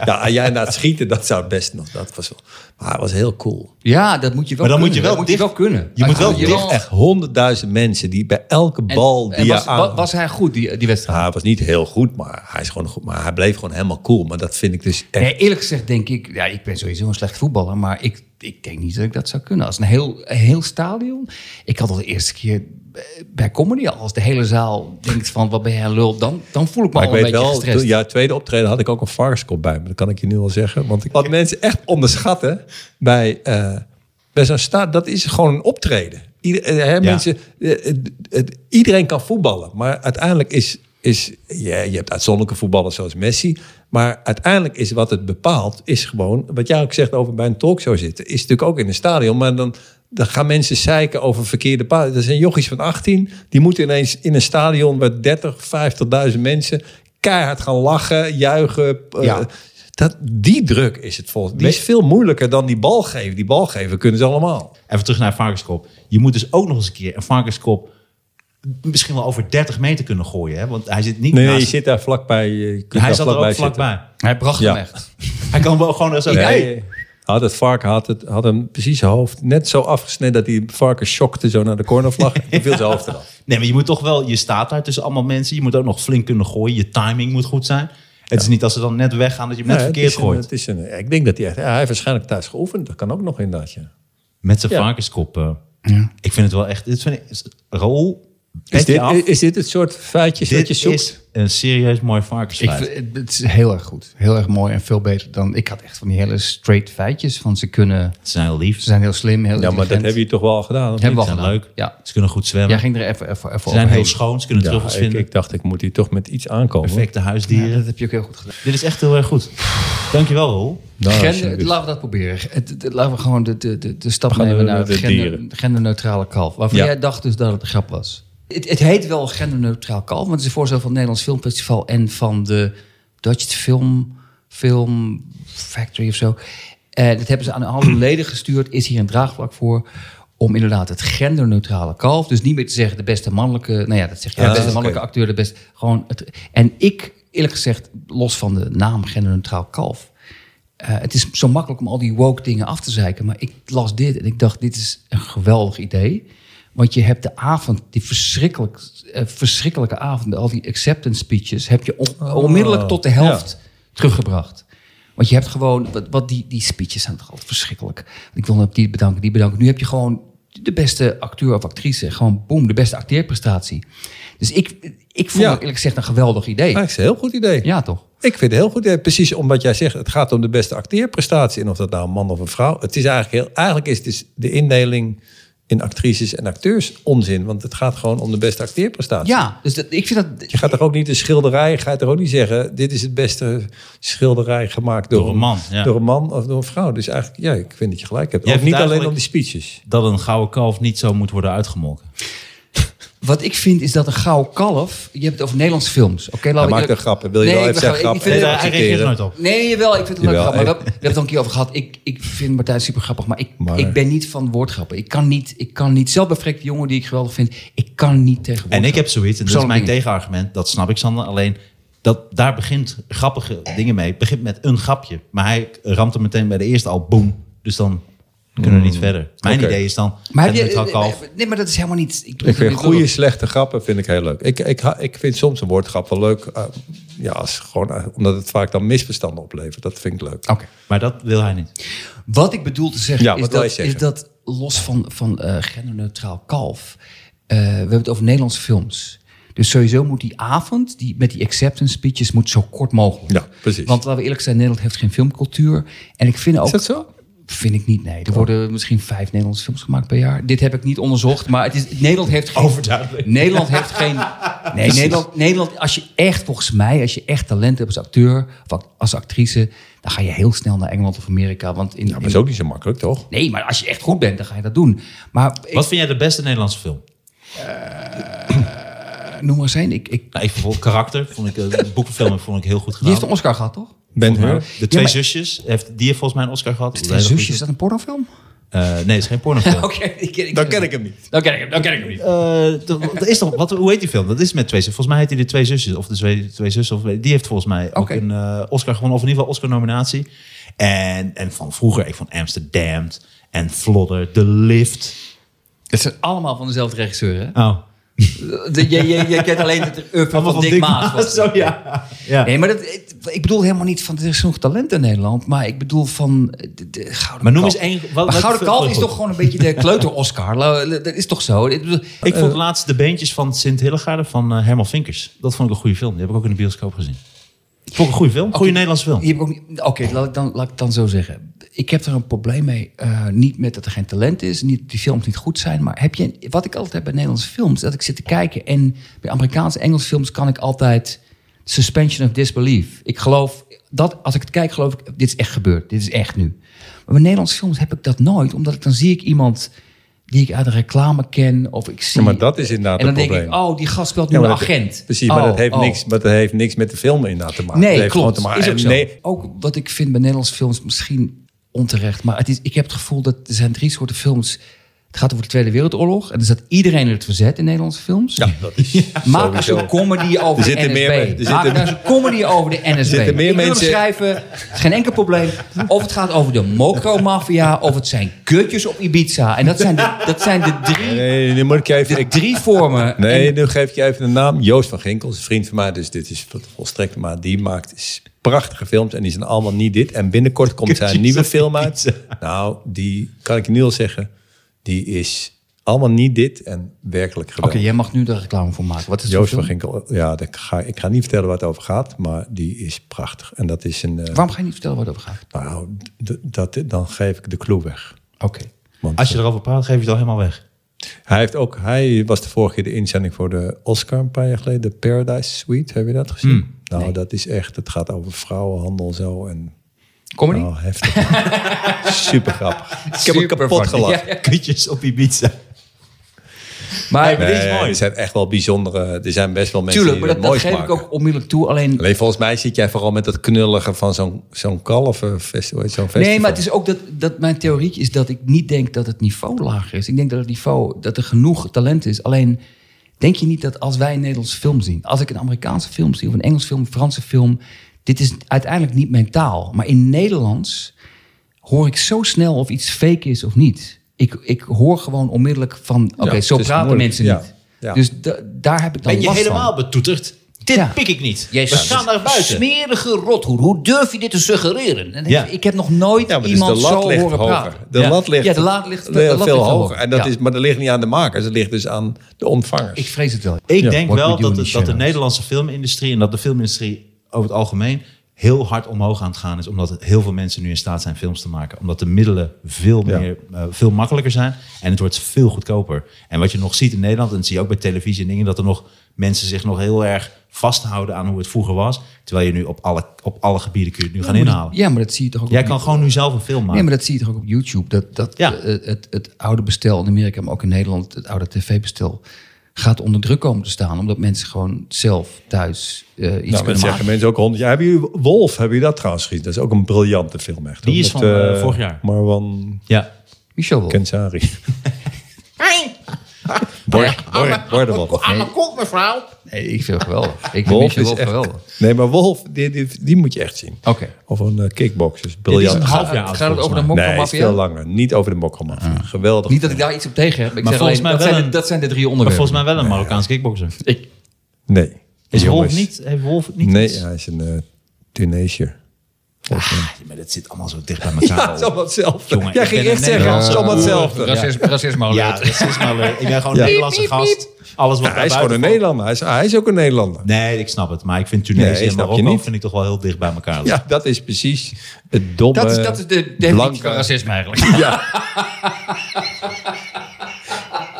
S2: Ja, en jij na het schieten, dat zou best nog. Dat was wel, maar het was heel cool.
S3: Ja, dat moet je wel
S1: Maar dan moet je
S3: kunnen.
S1: wel
S3: dat
S1: dicht-
S3: moet je wel kunnen.
S1: je moet wel
S3: Ja,
S1: dicht
S2: Echt, echt honderdduizend mensen die bij elke
S3: En-
S2: bal
S3: en
S2: die
S3: was,
S2: je aan...
S3: wa- was hij goed, die, die wedstrijd?
S2: Ja, hij was niet heel goed, maar hij, is gewoon goed, maar hij bleef gewoon helemaal cool. Maar dat vind ik dus echt...
S3: Nee, eerlijk gezegd denk ik... Ja, ik ben sowieso een slecht voetballer, maar ik, ik denk niet dat ik dat zou kunnen. Als een heel, een heel stadion... Ik had al de eerste keer bij- bij comedy al. Als de hele zaal denkt van, wat ben jij een lul? Dan, dan voel ik me
S2: Maar ik
S3: al een
S2: weet
S3: beetje
S2: wel,
S3: gestrest.
S2: toen- ja, tweede optreden had ik ook een varkenskop bij me. Dat kan ik je nu al zeggen. Want ik, wat mensen echt onderschatten bij, eh, bij zo'n staat, dat is gewoon een optreden. Ieder, eh, hè, mensen, eh, het- het- iedereen kan voetballen, maar uiteindelijk is, is ja, je hebt uitzonderlijke voetballers zoals Messi, maar uiteindelijk is wat het bepaalt, is gewoon, wat jij ook zegt over bij een talkshow zitten, is natuurlijk ook in een stadion, maar dan, dan gaan mensen zeiken over verkeerde paden. Er zijn jochies van 18, die moeten ineens in een stadion met 30, 50.000 mensen keihard gaan lachen, juichen. eh,
S3: Ja.
S2: dat, die druk is het volgens Die is veel moeilijker dan die bal geven. Die bal geven kunnen ze allemaal.
S1: Even terug naar varkenskop. Je moet dus ook nog eens een keer een varkenskop misschien wel over 30 meter kunnen gooien. Hè? Want hij zit niet naast...
S2: zit daar vlakbij.
S1: hij zat er ook vlakbij.
S3: Hij bracht
S2: Ja.
S3: hem echt.
S1: Hij kan wel gewoon zo...
S2: Nee.
S1: Hey.
S2: Had het varken had, het, had hem precies zijn hoofd net zo afgesneden dat die varken schokte zo naar de cornervlag. En viel zijn hoofd eraf.
S1: Nee, maar je moet toch wel... Je staat daar tussen allemaal mensen. Je moet ook nog flink kunnen gooien. Je timing moet goed zijn. Het is niet als ze dan net weggaan dat je hem net
S2: Ja, het
S1: verkeerd
S2: is een-
S1: gooit.
S2: het is een, ik denk dat hij echt. ja, hij heeft waarschijnlijk thuis geoefend. Dat kan ook nog inderdaad. Ja.
S1: Met zijn
S2: Ja.
S1: varkenskop. eh. Ik vind het wel echt... Dit vind ik, is- Raoul,
S2: Is,
S1: pet je
S2: dit,
S1: af.
S2: is, dit het soort feitjes dat
S1: Dit
S2: je zoekt?
S1: is een serieus mooi
S3: Ik,
S1: varkensfeit.
S3: vind- het is heel erg goed. Heel erg mooi en veel beter dan... Ik had echt van die hele straight feitjes. Van ze kunnen...
S1: Ze zijn heel lief.
S3: Ze zijn heel slim, heel
S2: ja, maar dat hebben
S3: je
S2: je toch wel al gedaan? of
S3: Hebben
S2: niet?
S3: we al
S1: Ze
S3: gedaan.
S1: zijn leuk.
S3: Ja.
S1: Ze kunnen goed zwemmen.
S3: Jij ging er even, even, even
S1: ze zijn heel
S3: overheen.
S1: schoon. Ze kunnen truffels
S2: Ja, ik,
S1: vinden.
S2: ik dacht, ik moet hier toch met iets aankomen.
S1: Perfecte huisdieren.
S3: Ja, dat heb je ook heel goed gedaan.
S1: Dit is echt heel erg goed. Dankjewel, Roel.
S2: Nou,
S3: Gender,
S2: alsjeblieft.
S3: laten we dat proberen. Het, het- laten we gewoon de, de, de, de stap
S2: Gaan
S3: nemen
S2: we
S3: naar
S2: de
S3: het gender,
S2: dieren.
S3: genderneutrale kalf. Waarvan
S2: Ja.
S3: jij dacht dus dat het een grap was. Het, het heet wel genderneutraal kalf, want het is een voorstel van het Nederlands Filmfestival en van de Dutch Film, Film Factory of zo. En dat hebben ze aan alle leden gestuurd. Is hier een draagvlak voor? Om inderdaad het genderneutrale kalf. Dus niet meer te zeggen de beste mannelijke. Nou ja, dat zeg je.
S2: Ja,
S3: de beste
S2: Ah, oké.
S3: mannelijke acteur, de beste. Gewoon het, en ik, eerlijk gezegd, los van de naam genderneutraal kalf. Eh, het is zo makkelijk om al die woke dingen af te zeiken. Maar ik las dit en ik dacht, dit is een geweldig idee. Want je hebt de avond, die verschrikkelijk, eh, verschrikkelijke avond, al die acceptance speeches, heb je on- onmiddellijk tot de helft teruggebracht. Want je hebt gewoon, wat, wat die, die speeches zijn toch altijd verschrikkelijk. Ik wil hem op die bedanken, die bedanken. Nu heb je gewoon de beste acteur of actrice. Gewoon boem, de beste acteerprestatie. Dus ik, ik vond
S2: Ja.
S3: het eerlijk gezegd een geweldig idee.
S2: Ja, dat is een heel goed idee.
S3: Ja, toch?
S2: Ik vind het heel goed. Ja, Precies omdat jij zegt, het gaat om de beste acteerprestatie. En of dat nou een man of een vrouw. Het is eigenlijk heel. Eigenlijk is het dus de indeling in actrices en acteurs onzin. Want het gaat gewoon om de beste acteerprestatie.
S3: Ja, dus dat, ik vind dat...
S2: Je gaat toch ook niet een schilderij, ga je toch ook niet zeggen, dit is het beste schilderij gemaakt door,
S1: Door een man, ja.
S2: door een man of door een vrouw. Dus eigenlijk, ja, ik vind dat je gelijk hebt.
S1: Jij
S2: Ook niet
S1: vindt
S2: alleen om die
S1: eigenlijk-
S2: speeches.
S1: Dat een gouden kalf niet zo moet worden uitgemolken.
S3: Wat ik vind is dat een gouden kalf... Je hebt het over Nederlandse films. Oké, laat
S2: Hij maakt een grap. Wil je wel even zijn grap?
S1: Nee,
S2: Nee,
S1: daar, hij
S2: accepteren.
S1: reageert nooit op.
S3: Nee, jawel, ik vind het een leuk
S2: Jawel,
S3: grap. Maar
S2: ik-
S3: dat, daar hebben we het al een keer over gehad. Ik, ik vind Martijn super grappig, maar ik,
S2: Maar-
S3: ik ben niet van woordgrappen. Ik kan niet, ik kan niet, zelf bij Freek de jongen die ik geweldig vind, ik kan niet tegen
S1: En ik
S3: woordgrappen.
S1: heb zoiets, en dat is
S3: Persoonlijk
S1: mijn tegenargument, dat snap ik Sander, alleen dat, daar begint grappige dingen mee. Het begint met een grapje, maar hij ramt er meteen bij de eerste al, boem. Dus dan kunnen we niet verder. Mijn
S2: Oké.
S1: idee is dan,
S3: Hmm. Maar heb
S1: het neutraal
S3: je, eh,
S1: kalf.
S3: nee, maar dat is helemaal niet... Ik,
S2: Ik vind goede, slechte grappen vind ik heel leuk. Ik, ik, ha- ik vind soms een woordgrap wel leuk. eh, ja, als gewoon, eh, omdat het vaak dan misverstanden oplevert. Dat vind ik leuk.
S3: Oké.
S1: Maar dat wil hij niet.
S3: Wat ik bedoel te zeggen,
S2: Ja,
S3: is,
S2: wat wil
S3: dat,
S2: je zeggen?
S3: is dat los van, van eh, genderneutraal kalf, eh, we hebben het over Nederlandse films. Dus sowieso moet die avond, die, met die acceptance speeches, moet zo kort mogelijk.
S2: Ja, precies.
S3: Want laten we eerlijk zijn, Nederland heeft geen filmcultuur. En ik vind ook...
S2: Is dat zo?
S3: Vind ik niet, nee. Er worden misschien vijf Nederlandse films gemaakt per jaar. Dit heb ik niet onderzocht, maar het is, Nederland heeft geen...
S1: Overduidelijk.
S3: Nederland heeft geen... Nee, Nederland, Nederland, als je echt, volgens mij, als je echt talent hebt als acteur of als actrice, dan ga je heel snel naar Engeland of Amerika. Want in,
S2: Maar dat is ook niet zo makkelijk, toch?
S3: in- nee, maar als je echt goed bent, dan ga je dat doen. Maar ik,
S1: Wat vind jij de beste Nederlandse film?
S3: noem maar eens een. Ik, ik,
S1: Nou, ik bijvoorbeeld Karakter, vond ik, eh, de boekverfilming vond ik heel goed
S3: die
S1: gedaan.
S3: heeft een Oscar gehad, toch?
S2: Ben
S1: Maar
S2: Hur.
S1: De Twee
S3: maar-
S1: Zusjes, heeft, die heeft volgens mij een Oscar gehad.
S3: Twee zusjes, is dat een pornofilm?
S1: Eh, nee, het is geen pornofilm.
S3: Oké, die ken ik
S2: Dan ken ik hem niet.
S3: Dan ken ik hem, dan ken ik hem niet.
S1: Eh, dat- dat is toch, wat, hoe heet die film? Dat is met twee zusjes. Volgens mij heet hij de twee zusjes. Of de twee, twee zussen. Of, die heeft volgens mij ook
S3: Oké.
S1: een eh, Oscar gewonnen. Of in ieder geval Oscar-nominatie. En, en van vroeger, ik vond Amsterdam en Flodder, The Lift.
S3: Het zijn allemaal van dezelfde regisseur, hè?
S1: Oh,
S3: De- je, je, je kent alleen het up van, Dick, Maas. was-
S1: Zo, ja. ja.
S3: Nee, maar dat, ik- ik bedoel helemaal niet van er is genoeg talent in Nederland, maar ik bedoel van eh, de, de Gouden
S1: Maar noem
S3: Kalf.
S1: eens één- wat-
S3: maar
S1: wat-
S3: Gouden Kalf is
S1: goed.
S3: toch gewoon een beetje de kleuter-Oscar. La- la- Dat is toch zo? Ik bedoel,
S1: Ik vond laatst de beentjes van Sint Hillegaarde van eh, Herman Vinkers. Dat vond ik een goede film. Die heb ik ook in de bioscoop gezien. Vond ik een goede film. Goede Nederlandse film.
S3: hier heb ik ook niet- Oké, laat, ik dan- laat ik het dan zo zeggen. Ik heb er een probleem mee. eh, niet met dat er geen talent is, niet dat die films niet goed zijn. Maar heb je, wat ik altijd heb bij Nederlandse films, dat ik zit te kijken. En bij Amerikaanse Engelse films kan ik altijd suspension of disbelief. Ik geloof, dat, als ik het kijk, geloof ik, dit is echt gebeurd. Dit is echt nu. Maar bij Nederlandse films heb ik dat nooit. Omdat ik dan zie ik iemand die ik uit een reclame ken. Of ik zie...
S2: Ja, maar dat is inderdaad
S3: En dan
S2: het
S3: denk ik,
S2: probleem.
S3: oh, die gast speelt nu
S2: Ja,
S3: een
S2: maar dat-
S3: agent.
S2: Precies, maar
S3: Oh,
S2: dat heeft,
S3: oh.
S2: niks, maar dat heeft niks met de film inderdaad te maken. Dat
S3: Nee,
S2: heeft gewoon
S3: klopt.
S2: Te maken.
S3: Is ook
S2: en
S3: zo.
S2: nee,
S3: Ook wat ik vind bij Nederlandse films misschien onterecht. Maar het is, ik heb het gevoel dat er zijn drie soorten films. Het gaat over de Tweede Wereldoorlog. En er zat iedereen in het verzet in Nederlandse films.
S2: Ja, dat is
S3: Maak eens
S2: sowieso.
S3: een comedy over
S2: Er
S3: de
S2: zitten
S3: NSB.
S2: meer- er
S3: Maak
S2: zitten-
S3: nou eens een comedy over de NSB.
S2: zitten meer
S3: ik wil
S2: mensen-
S3: hem schrijven. Het is geen enkel probleem. Of het gaat over de mokromafia. Of het zijn kutjes op Ibiza. En dat zijn de, dat zijn de drie,
S2: Nee, nu moet ik je even...
S3: de
S2: ik-
S3: drie vormen.
S2: nee, nu geef ik je even een naam. Joost van Ginkel is een vriend van mij, dus dit is vol- volstrekt. Maar die maakt s- prachtige films en die zijn allemaal niet dit. En binnenkort komt zijn nieuwe film uit. Nou, die kan ik je nu al zeggen, die is allemaal niet dit en werkelijk
S3: Oké,
S2: geweldig.
S3: jij mag nu de reclame voor maken. Wat is het
S2: Joost
S3: voor
S2: van
S3: film?
S2: Ginkel, ja, dat ga, ik ga niet vertellen waar het over gaat, maar die is prachtig. En dat is een... eh,
S3: Waarom ga je niet vertellen waar het over gaat?
S2: nou, d- dat, dan geef ik de clue weg.
S3: Oké.
S2: Want
S1: Als je erover praat, geef je het al helemaal weg.
S2: Hij, heeft ook, hij was de vorige keer de inzending voor de Oscar een paar jaar geleden. De Paradise Suite, heb je dat gezien?
S3: Hmm.
S2: nou, dat is echt, het gaat over vrouwenhandel zo. En,
S3: Comedy?
S2: nou, heftig. Super grappig. Ik heb hem
S3: Super
S2: kapot
S3: funny.
S2: gelachen.
S3: Ja, ja.
S1: Kutjes op Ibiza.
S3: Maar
S1: Dit is
S2: Nee,
S1: mooi.
S2: er zijn echt wel bijzondere, er zijn best wel mensen
S3: tuurlijk,
S2: die
S3: maar dat, dat
S2: dat, moois
S3: geef ik
S2: maken.
S3: ook onmiddellijk toe. Alleen,
S2: Alleen volgens mij zit jij vooral met dat knullige van zo'n zo'n kalvenfestival. Zo'n festival.
S3: nee, maar het is ook dat, dat mijn theorietje is dat ik niet denk dat het niveau lager is. Ik denk dat het niveau, dat er genoeg talent is. Alleen, denk je niet dat als wij een Nederlandse film zien, als ik een Amerikaanse film zie of een Engels film, een Franse film, dit is uiteindelijk niet mijn taal. Maar in Nederlands hoor ik zo snel of iets fake is of niet. Ik, ik hoor gewoon onmiddellijk van, oké,
S2: het
S3: zo
S2: is
S3: praten
S2: moeilijk.
S3: mensen
S2: Ja,
S3: niet.
S2: ja.
S3: Dus da- daar heb ik dan
S1: Ben je
S3: last van.
S1: helemaal betoeterd? Dit
S3: Ja.
S1: pik ik niet.
S3: Jezus,
S1: We gaan naar buiten.
S3: Smerige rothoer. Hoe durf je dit te suggereren? En
S1: Ja.
S3: Ik heb nog nooit
S2: Ja, maar dus
S3: iemand
S2: de lat
S3: zo
S2: ligt
S3: horen
S2: hoger.
S3: praten.
S2: De
S3: ja.
S2: lat ligt,
S3: Ja, de lat ligt de
S2: heel
S3: lat
S2: veel
S3: ligt
S2: hoger.
S3: hoger.
S2: En dat
S3: Ja.
S2: is, maar dat ligt niet aan de makers, dat ligt dus aan de ontvangers.
S3: Ik vrees het wel.
S1: Ik
S2: Ja.
S1: denk
S3: What we
S1: wel
S3: do
S1: dat,
S3: in the
S1: het- dat de
S3: shadows.
S1: Nederlandse filmindustrie en dat de filmindustrie over het algemeen heel hard omhoog aan het gaan is. Omdat het heel veel mensen nu in staat zijn films te maken. Omdat de middelen veel,
S2: Ja.
S1: meer, eh, veel makkelijker zijn. En het wordt veel goedkoper. En wat je nog ziet in Nederland, en dat zie je ook bij televisie en dingen, dat er nog mensen zich nog heel erg vasthouden aan hoe het vroeger was. Terwijl je nu op alle, op alle gebieden kun je het nu gaan inhalen.
S3: Ja, maar dat zie je toch ook
S1: Jij
S3: op-
S1: kan gewoon nu zelf een film
S3: Nee,
S1: maken.
S3: maar dat zie je toch ook op YouTube. Dat, dat
S1: Ja.
S3: eh, het, het oude bestel in Amerika, maar ook in Nederland, het oude tv-bestel, gaat onder druk komen te staan. Omdat mensen gewoon zelf thuis eh, iets
S2: Nou, dat
S3: kunnen
S2: zeggen
S3: maken.
S2: mensen ook honderd jaar. Hebben jullie Wolf, hebben jullie dat trouwens gezien? Dat is ook een briljante film echt.
S1: Die
S2: hoor.
S1: is
S2: Met,
S1: van, eh,
S2: eh,
S1: vorig jaar.
S2: Marwan
S1: Ja.
S3: Michel wel.
S2: Kensari. Word- word- Worden Wolf.
S3: Nee, ik vind het geweldig. Ik vind
S2: Wolf
S3: Michel
S2: is
S3: wel geweldig.
S2: echt... Nee, maar Wolf, die, die, die moet je echt zien.
S3: Oké.
S2: Of een kickboxers kickboxer. is
S1: Dit is
S2: Briljant.
S1: een half jaar
S3: Gaat
S1: oud.
S3: het
S1: volgens
S3: over de
S1: mij.
S2: Nee, is
S3: mokromafia?
S2: veel langer. Niet over de mokkelmafia. Geweldig.
S3: Niet dat ik daar iets op tegen heb. Ik
S1: Maar
S3: zeg
S1: volgens
S3: alleen,
S1: mij
S3: dat,
S1: wel
S3: zijn de,
S1: een-
S3: dat zijn de drie
S1: Maar
S3: onderwerpen.
S1: volgens mij wel een Marokkaans kickboxer.
S3: Ik,
S2: Nee.
S1: Is Wolf
S2: Jongens.
S1: niet? Heeft Wolf niet?
S2: Nee,
S1: iets?
S2: hij is een eh Tunesier. Volgens mij.
S1: Ah, maar dat zit allemaal zo dicht bij elkaar.
S2: Ja, Nou, het is allemaal hetzelfde.
S1: Nou, Jongen,
S2: Jij
S1: ik
S2: ging
S1: ben
S2: echt
S1: een
S2: zeggen, het is
S1: Nederlandse
S2: allemaal
S1: boer.
S2: hetzelfde. Ja.
S3: Racisme, racisme
S1: Ja,
S3: alert.
S1: dat is maar leuk. Ik ben gewoon
S2: Ja.
S1: een Nederlandse
S3: Piep, piep,
S1: gast. Alles wat
S2: Ja, hij is
S1: daar
S2: gewoon een
S1: buiten
S2: Nederlander. Hij is, hij is ook een Nederlander.
S1: valt- Nee, ik snap het. Maar ik vind Tunesië
S2: Nee,
S1: en
S2: snap je
S1: Marokko
S2: niet.
S1: vind ik toch wel heel dicht bij elkaar. liggen.
S2: Ja, dat is precies het domme,
S3: Dat is, dat is de definitie
S2: blanke-
S3: van racisme eigenlijk.
S2: Ja.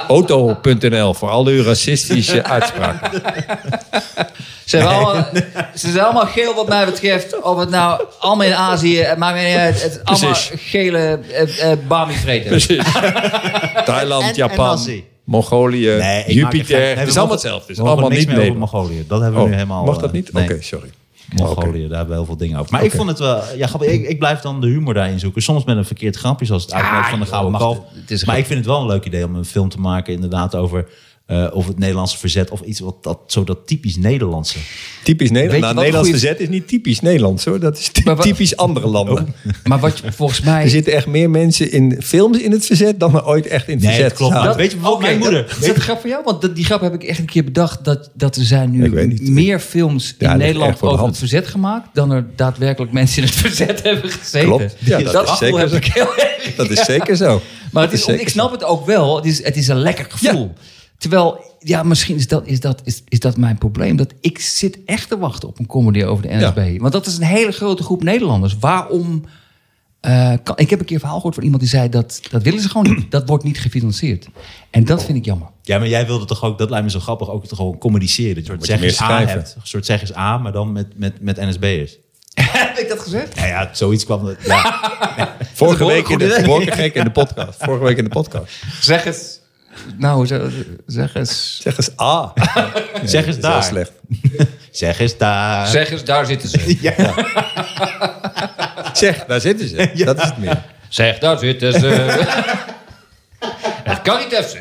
S2: Auto.nl voor al uw racistische uitspraken.
S3: Ze zijn, allemaal, ze zijn allemaal geel wat mij betreft. Of het nou allemaal in Azië, het maakt me niet uit. Het is allemaal
S2: Precies.
S3: gele eh, eh, Bami vreten.
S2: Precies. Thailand,
S1: En- en
S2: Japan,
S1: Nazi.
S2: Mongolië,
S1: Nee, ik maak er
S2: Jupiter.
S1: geen- nee,
S2: het
S1: we
S2: is
S1: mogen-
S2: allemaal hetzelfde. Het is
S1: we mogen
S2: allemaal niet
S1: niks meer over
S2: Nederland.
S1: Mongolië. Dat hebben we nu
S2: Oh,
S1: helemaal...
S2: mag dat
S1: eh,
S2: niet?
S1: nee.
S2: Oké, sorry.
S1: Mongolië, daar hebben we heel veel dingen over. Maar ik vond het wel... Ja, grappig, ik, ik blijf dan de humor daarin zoeken. Soms met een verkeerd grapje, zoals het uitmaakt
S2: Ah,
S1: van de
S3: joh,
S1: Gouden
S3: mag-
S1: Kalf.
S3: het is een
S1: maar ik vind het wel een leuk idee om een film te maken inderdaad over... eh, of het Nederlandse verzet of iets wat dat, zo dat typisch Nederlandse.
S2: Typisch
S3: Weet je
S2: Nederland. Nou,
S3: wat een
S2: Nederlands
S3: goeie-
S2: verzet is niet typisch Nederlands hoor. Dat is ty-
S3: Maar wat-
S2: typisch andere landen.
S1: Oh.
S3: Maar wat je volgens
S2: Er
S3: mij...
S2: zitten echt meer mensen in films in het verzet dan er ooit echt in het
S1: Nee,
S2: verzet
S1: dat klopt.
S2: zaten.
S1: Dat- weet je bijvoorbeeld
S3: oké,
S1: mijn moeder.
S3: dat- Is dat een grap voor jou? Want dat- die grap heb ik echt een keer bedacht. Dat, dat er zijn
S2: Ik weet
S3: nu
S2: niet.
S3: meer films
S2: Ja,
S3: in
S2: ligt
S3: Nederland
S2: echt voor de
S3: over
S2: hand.
S3: het verzet gemaakt. Dan er daadwerkelijk mensen in het verzet hebben gezeten.
S2: Klopt. Ja, dat is
S3: gevoel
S2: zeker
S3: heb
S2: zo.
S3: ik heel erg.
S2: Dat is zeker zo.
S3: Maar
S2: Dat
S3: het is,
S2: zeker
S3: ik
S2: zo.
S3: snap het ook wel. Het is, het is een lekker gevoel. Terwijl, ja, misschien is dat, is, dat, is, is dat mijn probleem. Dat ik zit echt te wachten op een comedy over de NSB. Want dat is een hele grote groep Nederlanders. Waarom... eh, kan, ik heb een keer een verhaal gehoord van iemand die zei... dat, dat willen ze gewoon niet. Dat wordt niet gefinancierd. En dat vind ik jammer.
S1: Ja, maar jij wilde toch ook, dat lijkt me zo grappig, ook toch gewoon communiceren. Dat je een
S2: Moet
S1: soort
S2: je meer
S1: zeggens A
S2: schrijven.
S1: hebt. Een soort zeggens A, maar dan met, met, met NSB'ers.
S3: heb ik dat gezegd?
S1: Ja, Nou ja, zoiets kwam er. Ja.
S2: Vorige week, in
S3: goed
S2: de,
S3: idee.
S2: vorige week in de podcast. Vorige week in de podcast.
S3: Zeg eens. Nou, ze- zeg eens.
S2: Zeg eens ah. Nee,
S1: Zeg eens
S2: dat is
S1: daar.
S2: heel slecht.
S1: Zeg eens daar.
S3: Zeg eens, daar zitten ze.
S2: Zeg, daar zitten ze. Dat is het meer.
S3: Zeg, daar zitten ze. Het kan niet even.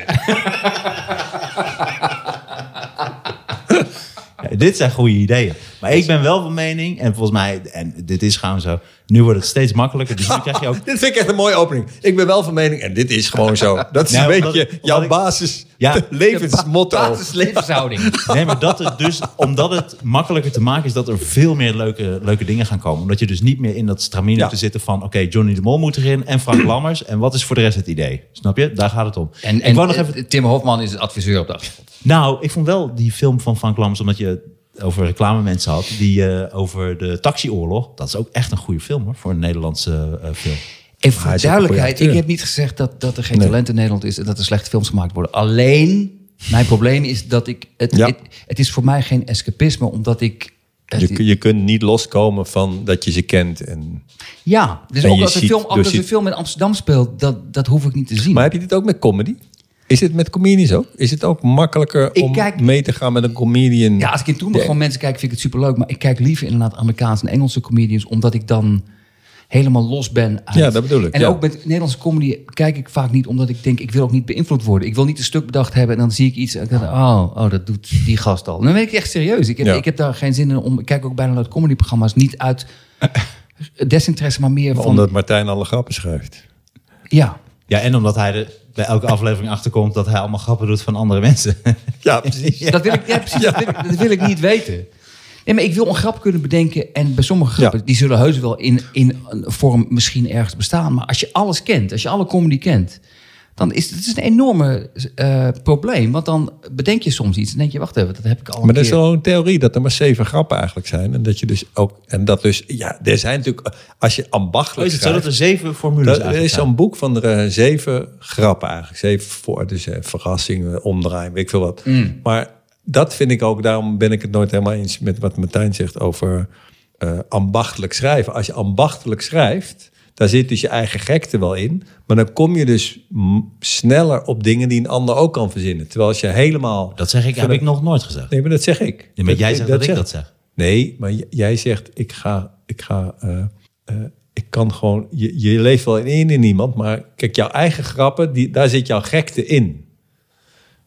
S1: Ja, dit zijn goede ideeën. Maar ik ben wel van mening, en volgens mij, en dit is gewoon zo, nu wordt het steeds makkelijker. Dus nu krijg je ook.
S2: Dit vind ik echt een mooie opening. Ik ben wel van mening, en dit is gewoon zo. Dat is
S1: Nee,
S2: een
S1: omdat-
S2: beetje
S1: omdat
S2: jouw
S1: ik-
S2: basis
S1: Ja.
S2: levensmotto.
S3: levenshouding.
S1: Nee, maar dat het dus, omdat het makkelijker te maken is, dat er veel meer leuke, leuke dingen gaan komen. Omdat je dus niet meer in dat stramien
S2: Ja.
S1: te zitten van, oké, Johnny de Mol moet erin en Frank Lammers. En wat is voor de rest het idee? Snap je? Daar gaat het om.
S3: En,
S1: ik
S3: en
S1: wou nog even
S3: Tim Hofman is adviseur op de achtergrond.
S1: Nou, ik vond wel die film van Frank Lammers, omdat je het over reclamemensen had, die eh, over de taxioorlog. Dat is ook echt een goede film hoor, voor een Nederlandse eh, film.
S3: En voor
S2: hij is ook een
S3: duidelijkheid,
S2: goede acteur.
S3: ik heb niet gezegd dat, dat er geen
S2: Nee.
S3: talent in Nederland is en dat er slechte films gemaakt worden. Alleen, mijn probleem is dat ik... Het,
S2: Ja.
S3: het, het is voor mij geen escapisme, omdat ik... het-
S2: Je, kun- je kunt niet loskomen van dat je ze kent. En...
S3: ja, dus
S2: En
S3: ook
S2: je
S3: als, een
S2: ziet-
S3: film,
S2: dus
S3: als
S2: je-
S3: een film in Amsterdam speelt, dat, dat hoef ik niet te zien.
S2: Maar heb je dit ook met comedy? Is dit met comedians ook? Is het ook makkelijker
S3: Ik
S2: om
S3: kijk-
S2: mee te gaan met een comedian?
S3: Ja, als ik in toen nog gewoon mensen kijk, vind ik het superleuk. Maar ik kijk liever inderdaad Amerikaanse en Engelse comedians, omdat ik dan helemaal los ben. Uit.
S2: Ja, dat bedoel ik,
S3: En
S2: ja.
S3: ook met Nederlandse comedy kijk ik vaak niet, omdat ik denk, ik wil ook niet beïnvloed worden. Ik wil niet een stuk bedacht hebben en dan zie ik iets en ik denk, oh, oh, dat doet die gast al. Dan ben ik echt serieus. Ik heb,
S2: Ja.
S3: ik heb daar geen zin in om. Ik kijk ook bijna naar comedyprogramma's, niet uit desinteresse, maar meer
S2: Maar
S3: van.
S2: Omdat Martijn alle grappen schrijft.
S3: Ja.
S1: Ja, en omdat hij er bij elke aflevering achterkomt dat hij allemaal grappen doet van andere mensen.
S2: Ja, precies.
S3: Dat wil ik, ja, precies, dat, wil ik, dat wil ik niet weten. Nee, maar ik wil een grap kunnen bedenken. En bij sommige grappen,
S2: Ja.
S3: die zullen heus wel in, in een vorm misschien ergens bestaan. Maar als je alles kent, als je alle comedy kent... dan is het is een enorme eh, probleem. Want dan bedenk je soms iets en denk je... wacht even, dat heb ik al een
S2: Maar dat is
S3: keer.
S2: wel een theorie dat er maar zeven grappen eigenlijk zijn. En dat je dus ook. En dat dus. Ja, er zijn natuurlijk. Als je
S1: Oh,
S2: ambachtelijk.
S1: is het zo dat
S2: schrijft,
S1: er zeven formules
S2: dat, er
S1: eigenlijk
S2: is
S1: zijn?
S2: zo'n boek van er, eh, zeven grappen eigenlijk. Zeven voor. Dus eh, verrassingen, omdraaien, weet ik veel wat.
S1: Mm.
S2: Maar dat vind ik ook. Daarom ben ik het nooit helemaal eens met wat Martijn zegt over eh, ambachtelijk schrijven. Als je ambachtelijk schrijft. Daar zit dus je eigen gekte wel in. Maar dan kom je dus mm, sneller op dingen die een ander ook kan verzinnen. Terwijl als je helemaal.
S1: Dat zeg ik, heb
S2: verder-
S1: ik nog nooit gezegd.
S2: Nee, maar dat zeg ik.
S1: Nee, maar jij zegt dat ik
S2: zeg
S1: dat zeg.
S2: Nee, maar j- jij zegt, ik ga, ik ga, eh, eh, ik kan gewoon, je, je leeft wel in één in iemand, maar kijk, jouw eigen grappen, die, daar zit jouw gekte in.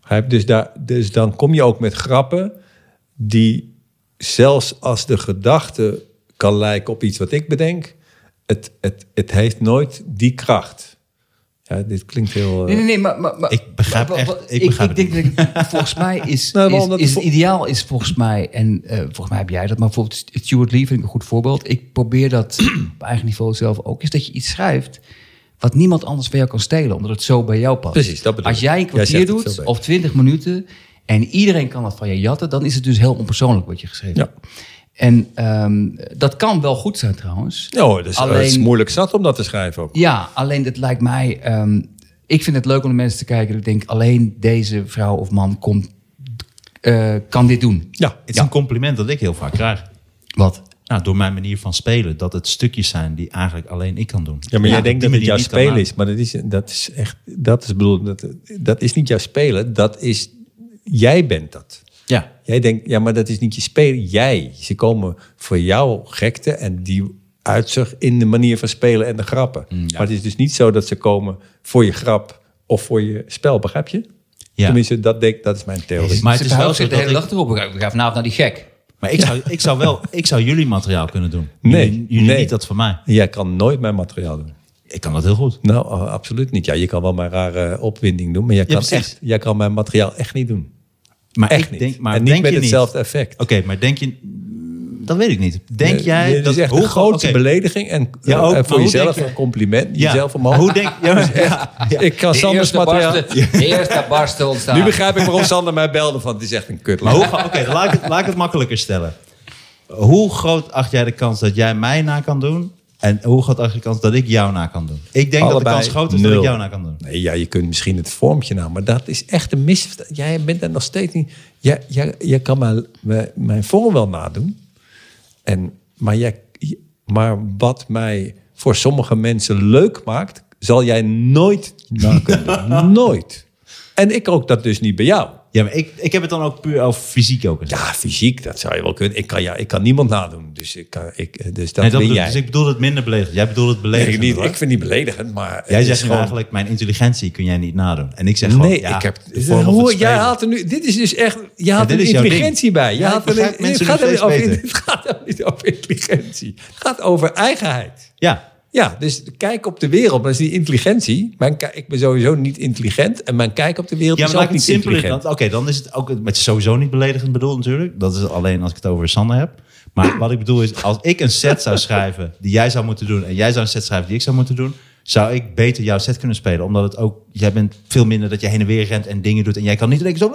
S2: Begrijp? Dus, daar, dus dan kom je ook met grappen die, zelfs als de gedachte kan lijken op iets wat ik bedenk, het, het, het heeft nooit die kracht. Ja, Ja, dit klinkt heel... eh,
S3: Nee, nee, nee, maar... maar, maar-
S1: Ik begrijp
S3: maar- maar-
S1: echt-
S3: maar-
S1: ik begrijp het
S3: denk dat volgens mij is,
S2: Nou, maar
S3: is,
S2: omdat
S3: is
S2: vo-
S3: het ideaal is volgens mij, en eh, volgens mij heb jij dat, maar bijvoorbeeld Stuart Lee vind ik een goed voorbeeld. Ik probeer dat op eigen niveau zelf ook, is dat je iets schrijft wat niemand anders van jou kan stelen, omdat het zo bij jou past.
S2: Precies, dat bedoel
S3: Als
S2: ik.
S3: jij een
S2: Jij zegt
S3: kwartier
S2: het veel
S3: doet,
S2: beter.
S3: of 20 minuten en iedereen kan dat van je jatten, dan is het dus heel onpersoonlijk wat je geschreven
S2: Ja.
S3: hebt. En ehm, dat kan wel goed zijn trouwens.
S2: Ja, hoor, dus, eh, het is
S3: Alleen-
S2: moeilijk zat om dat te schrijven ook.
S3: Ja, alleen dat lijkt mij. ehm, ik vind het leuk om naar mensen te kijken. dat Ik denk alleen deze vrouw of man komt, eh, kan dit doen.
S2: Ja,
S1: Het is een compliment dat ik heel vaak krijg.
S3: Wat?
S1: Nou, door mijn manier van spelen. Dat het stukjes zijn die eigenlijk alleen ik kan doen.
S2: Ja, maar jij
S1: op
S2: denkt
S1: die
S2: dat het
S1: manier
S2: jouw
S1: niet kan
S2: spelen
S1: laten.
S2: is, maar dat is, dat is echt, dat is bedoeld, dat, dat is niet jouw spelen, dat is, jij bent dat.
S1: Ja,
S2: Jij denkt, ja, maar dat is niet je spelen, jij. Ze komen voor jouw gekte en die uitzicht in de manier van spelen en de grappen.
S1: Mm,
S2: Maar het is dus niet zo dat ze komen voor je grap of voor je spel, begrijp je?
S1: Ja.
S2: Tenminste, dat, denk, dat is mijn theorie.
S1: Maar
S3: Maar
S1: het
S3: Ze
S1: is wel
S3: verhoudt
S1: zo
S3: zich de
S1: dat
S3: hele dag erop. We gaan we gaan vanavond naar die gek.
S1: maar ik zou, ik zou wel ik zou jullie materiaal kunnen doen.
S2: Nee,
S1: Jullie, jullie
S2: nee.
S1: niet dat van mij.
S2: Jij kan nooit mijn materiaal doen.
S1: Ik kan dat heel goed.
S2: Nou, a- absoluut niet. Ja, je kan wel mijn rare eh, opwinding doen, maar jij
S1: Ja,
S2: kan,
S1: precies.
S2: echt, jij kan mijn materiaal echt niet doen.
S1: Maar
S2: Echt
S1: ik
S2: niet.
S1: Denk, maar
S2: en niet
S1: denk
S2: met
S1: je
S2: hetzelfde effect. Eh,
S1: Oké, maar denk je... Dat weet ik niet. Denk
S2: Nee,
S1: jij...
S2: nee, dit
S1: dat,
S2: is echt een
S1: hoe-
S2: grote
S1: oké,
S2: belediging en
S1: Ja,
S2: eh,
S1: ook, maar
S2: voor
S1: hoe
S2: jezelf
S1: denk je-
S2: een compliment.
S1: Ja,
S2: Jezelf
S1: maar
S2: omhoog. Dus
S1: hoe denk ja, maar- ja, ja.
S2: Ik kan
S3: De
S2: Sanders
S3: eerste,
S2: materiaal...
S3: barsten, de eerste barsten ontstaan.
S2: Nu begrijp ik waarom Sander mij belde van het is echt een kutla.
S1: Maar hoe, ga- oké, laat, ik het, laat ik het makkelijker stellen. Hoe groot acht jij de kans dat jij mij na kan doen? En hoe groot acht je de kans dat ik jou na kan doen? Ik denk dat de
S2: Allebei
S1: kans groot is dat
S2: nul.
S1: ik jou na kan doen.
S2: Nee, ja, je kunt misschien het vormpje na, maar dat is echt een misverstand. Jij bent daar nog steeds niet... Jij, jij, jij kan mijn, mijn- mijn vorm wel nadoen, en, maar, jij, maar wat mij voor sommige mensen leuk maakt, zal jij nooit na kunnen doen. Nooit. En ik ook dat dus niet bij jou.
S1: Ja, maar ik, ik heb het dan ook puur over fysiek ook. Ja,
S2: Ja, fysiek, dat zou je wel kunnen. Ik kan, ja, ik kan niemand nadoen, dus, ik kan, ik, dus dat
S1: nee,
S2: ben
S1: dat bedoel,
S2: jij.
S1: dus ik bedoel het minder beledigd. Jij bedoelt het
S2: Nee,
S1: beledigd.
S2: ik, niet, ik vind niet beledigend, maar... het
S1: jij
S2: is
S1: zegt nu
S2: gewoon-
S1: eigenlijk, mijn intelligentie kun jij niet nadoen. En ik zeg gewoon,
S2: Nee,
S1: ja,
S2: ik heb.
S1: de vorm van het
S2: Hoor, jij
S1: spelen.
S2: haalt er nu. Dit is dus echt. Je haalt
S1: dit
S2: er
S1: is jouw
S2: intelligentie
S1: ding.
S2: bij. Je
S1: Ja, ik
S2: haalt er,
S1: begrijp mensen
S2: het gaat
S1: nu
S2: er niet
S1: steeds
S2: over,
S1: beter.
S2: het gaat er niet over intelligentie. Het gaat over eigenheid.
S1: Ja,
S2: Ja, dus kijk op de wereld. Maar dat is die intelligentie. Mijn, ki- ik ben sowieso niet intelligent. En mijn kijk op de wereld
S1: ja
S2: is
S1: maar laat
S2: ook
S1: ik het
S2: niet
S1: simpeler. dan-
S2: intelligent.
S1: Oké, dan is het ook, het is sowieso niet beledigend bedoeld natuurlijk. Dat is alleen als ik het over Sander heb. Maar wat ik bedoel is, als ik een set zou schrijven die jij zou moeten doen... en jij zou een set schrijven die ik zou moeten doen... zou ik beter jouw set kunnen spelen. Omdat het ook, jij bent veel minder dat je heen en weer rent en dingen doet... en jij kan niet denken, zo,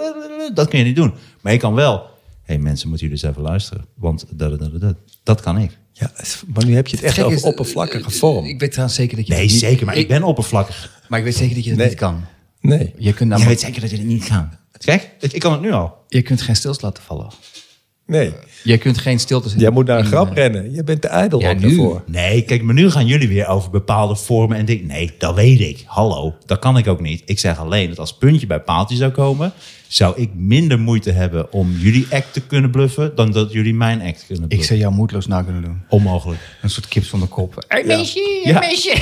S1: dat kun je niet doen. Maar je kan wel, hé hey, mensen, moeten jullie eens even luisteren. Want dat, dat, dat, dat, dat kan ik.
S2: Ja, maar nu heb je het echt
S3: Gek
S2: over
S3: is- eh,
S2: oppervlakkige vorm.
S3: Ik weet trouwens zeker dat je.
S1: Nee,
S3: dat niet-
S1: zeker, maar ik, Nou, ben oppervlakkig.
S3: Maar ik weet zeker dat je dat
S2: Nee.
S3: niet kan.
S2: nee.
S3: Je kunt,
S1: Jij
S3: namelijk,
S1: weet zeker dat je het niet kan. Kijk, ik ik kan het nu al.
S3: je kunt geen stilte laten vallen.
S2: Nee.
S3: Je kunt geen stilte.
S2: Jij moet naar een
S3: in,
S2: grap
S3: eh,
S2: rennen. Je bent te ijdel
S3: Ja,
S2: ook
S3: nu.
S2: daarvoor.
S1: Nee, kijk, maar nu gaan jullie weer over bepaalde vormen en dingen. Nee, dat weet ik. Hallo, dat kan ik ook niet. Ik zeg alleen dat als puntje bij paaltje zou komen, zou ik minder moeite hebben om jullie act te kunnen bluffen dan dat jullie mijn act kunnen
S3: Ik
S1: bluffen.
S3: zou jou moedloos na kunnen doen.
S1: Onmogelijk.
S3: Een soort kips van de kop. Hey, meisje,
S1: Ja.
S3: meisje.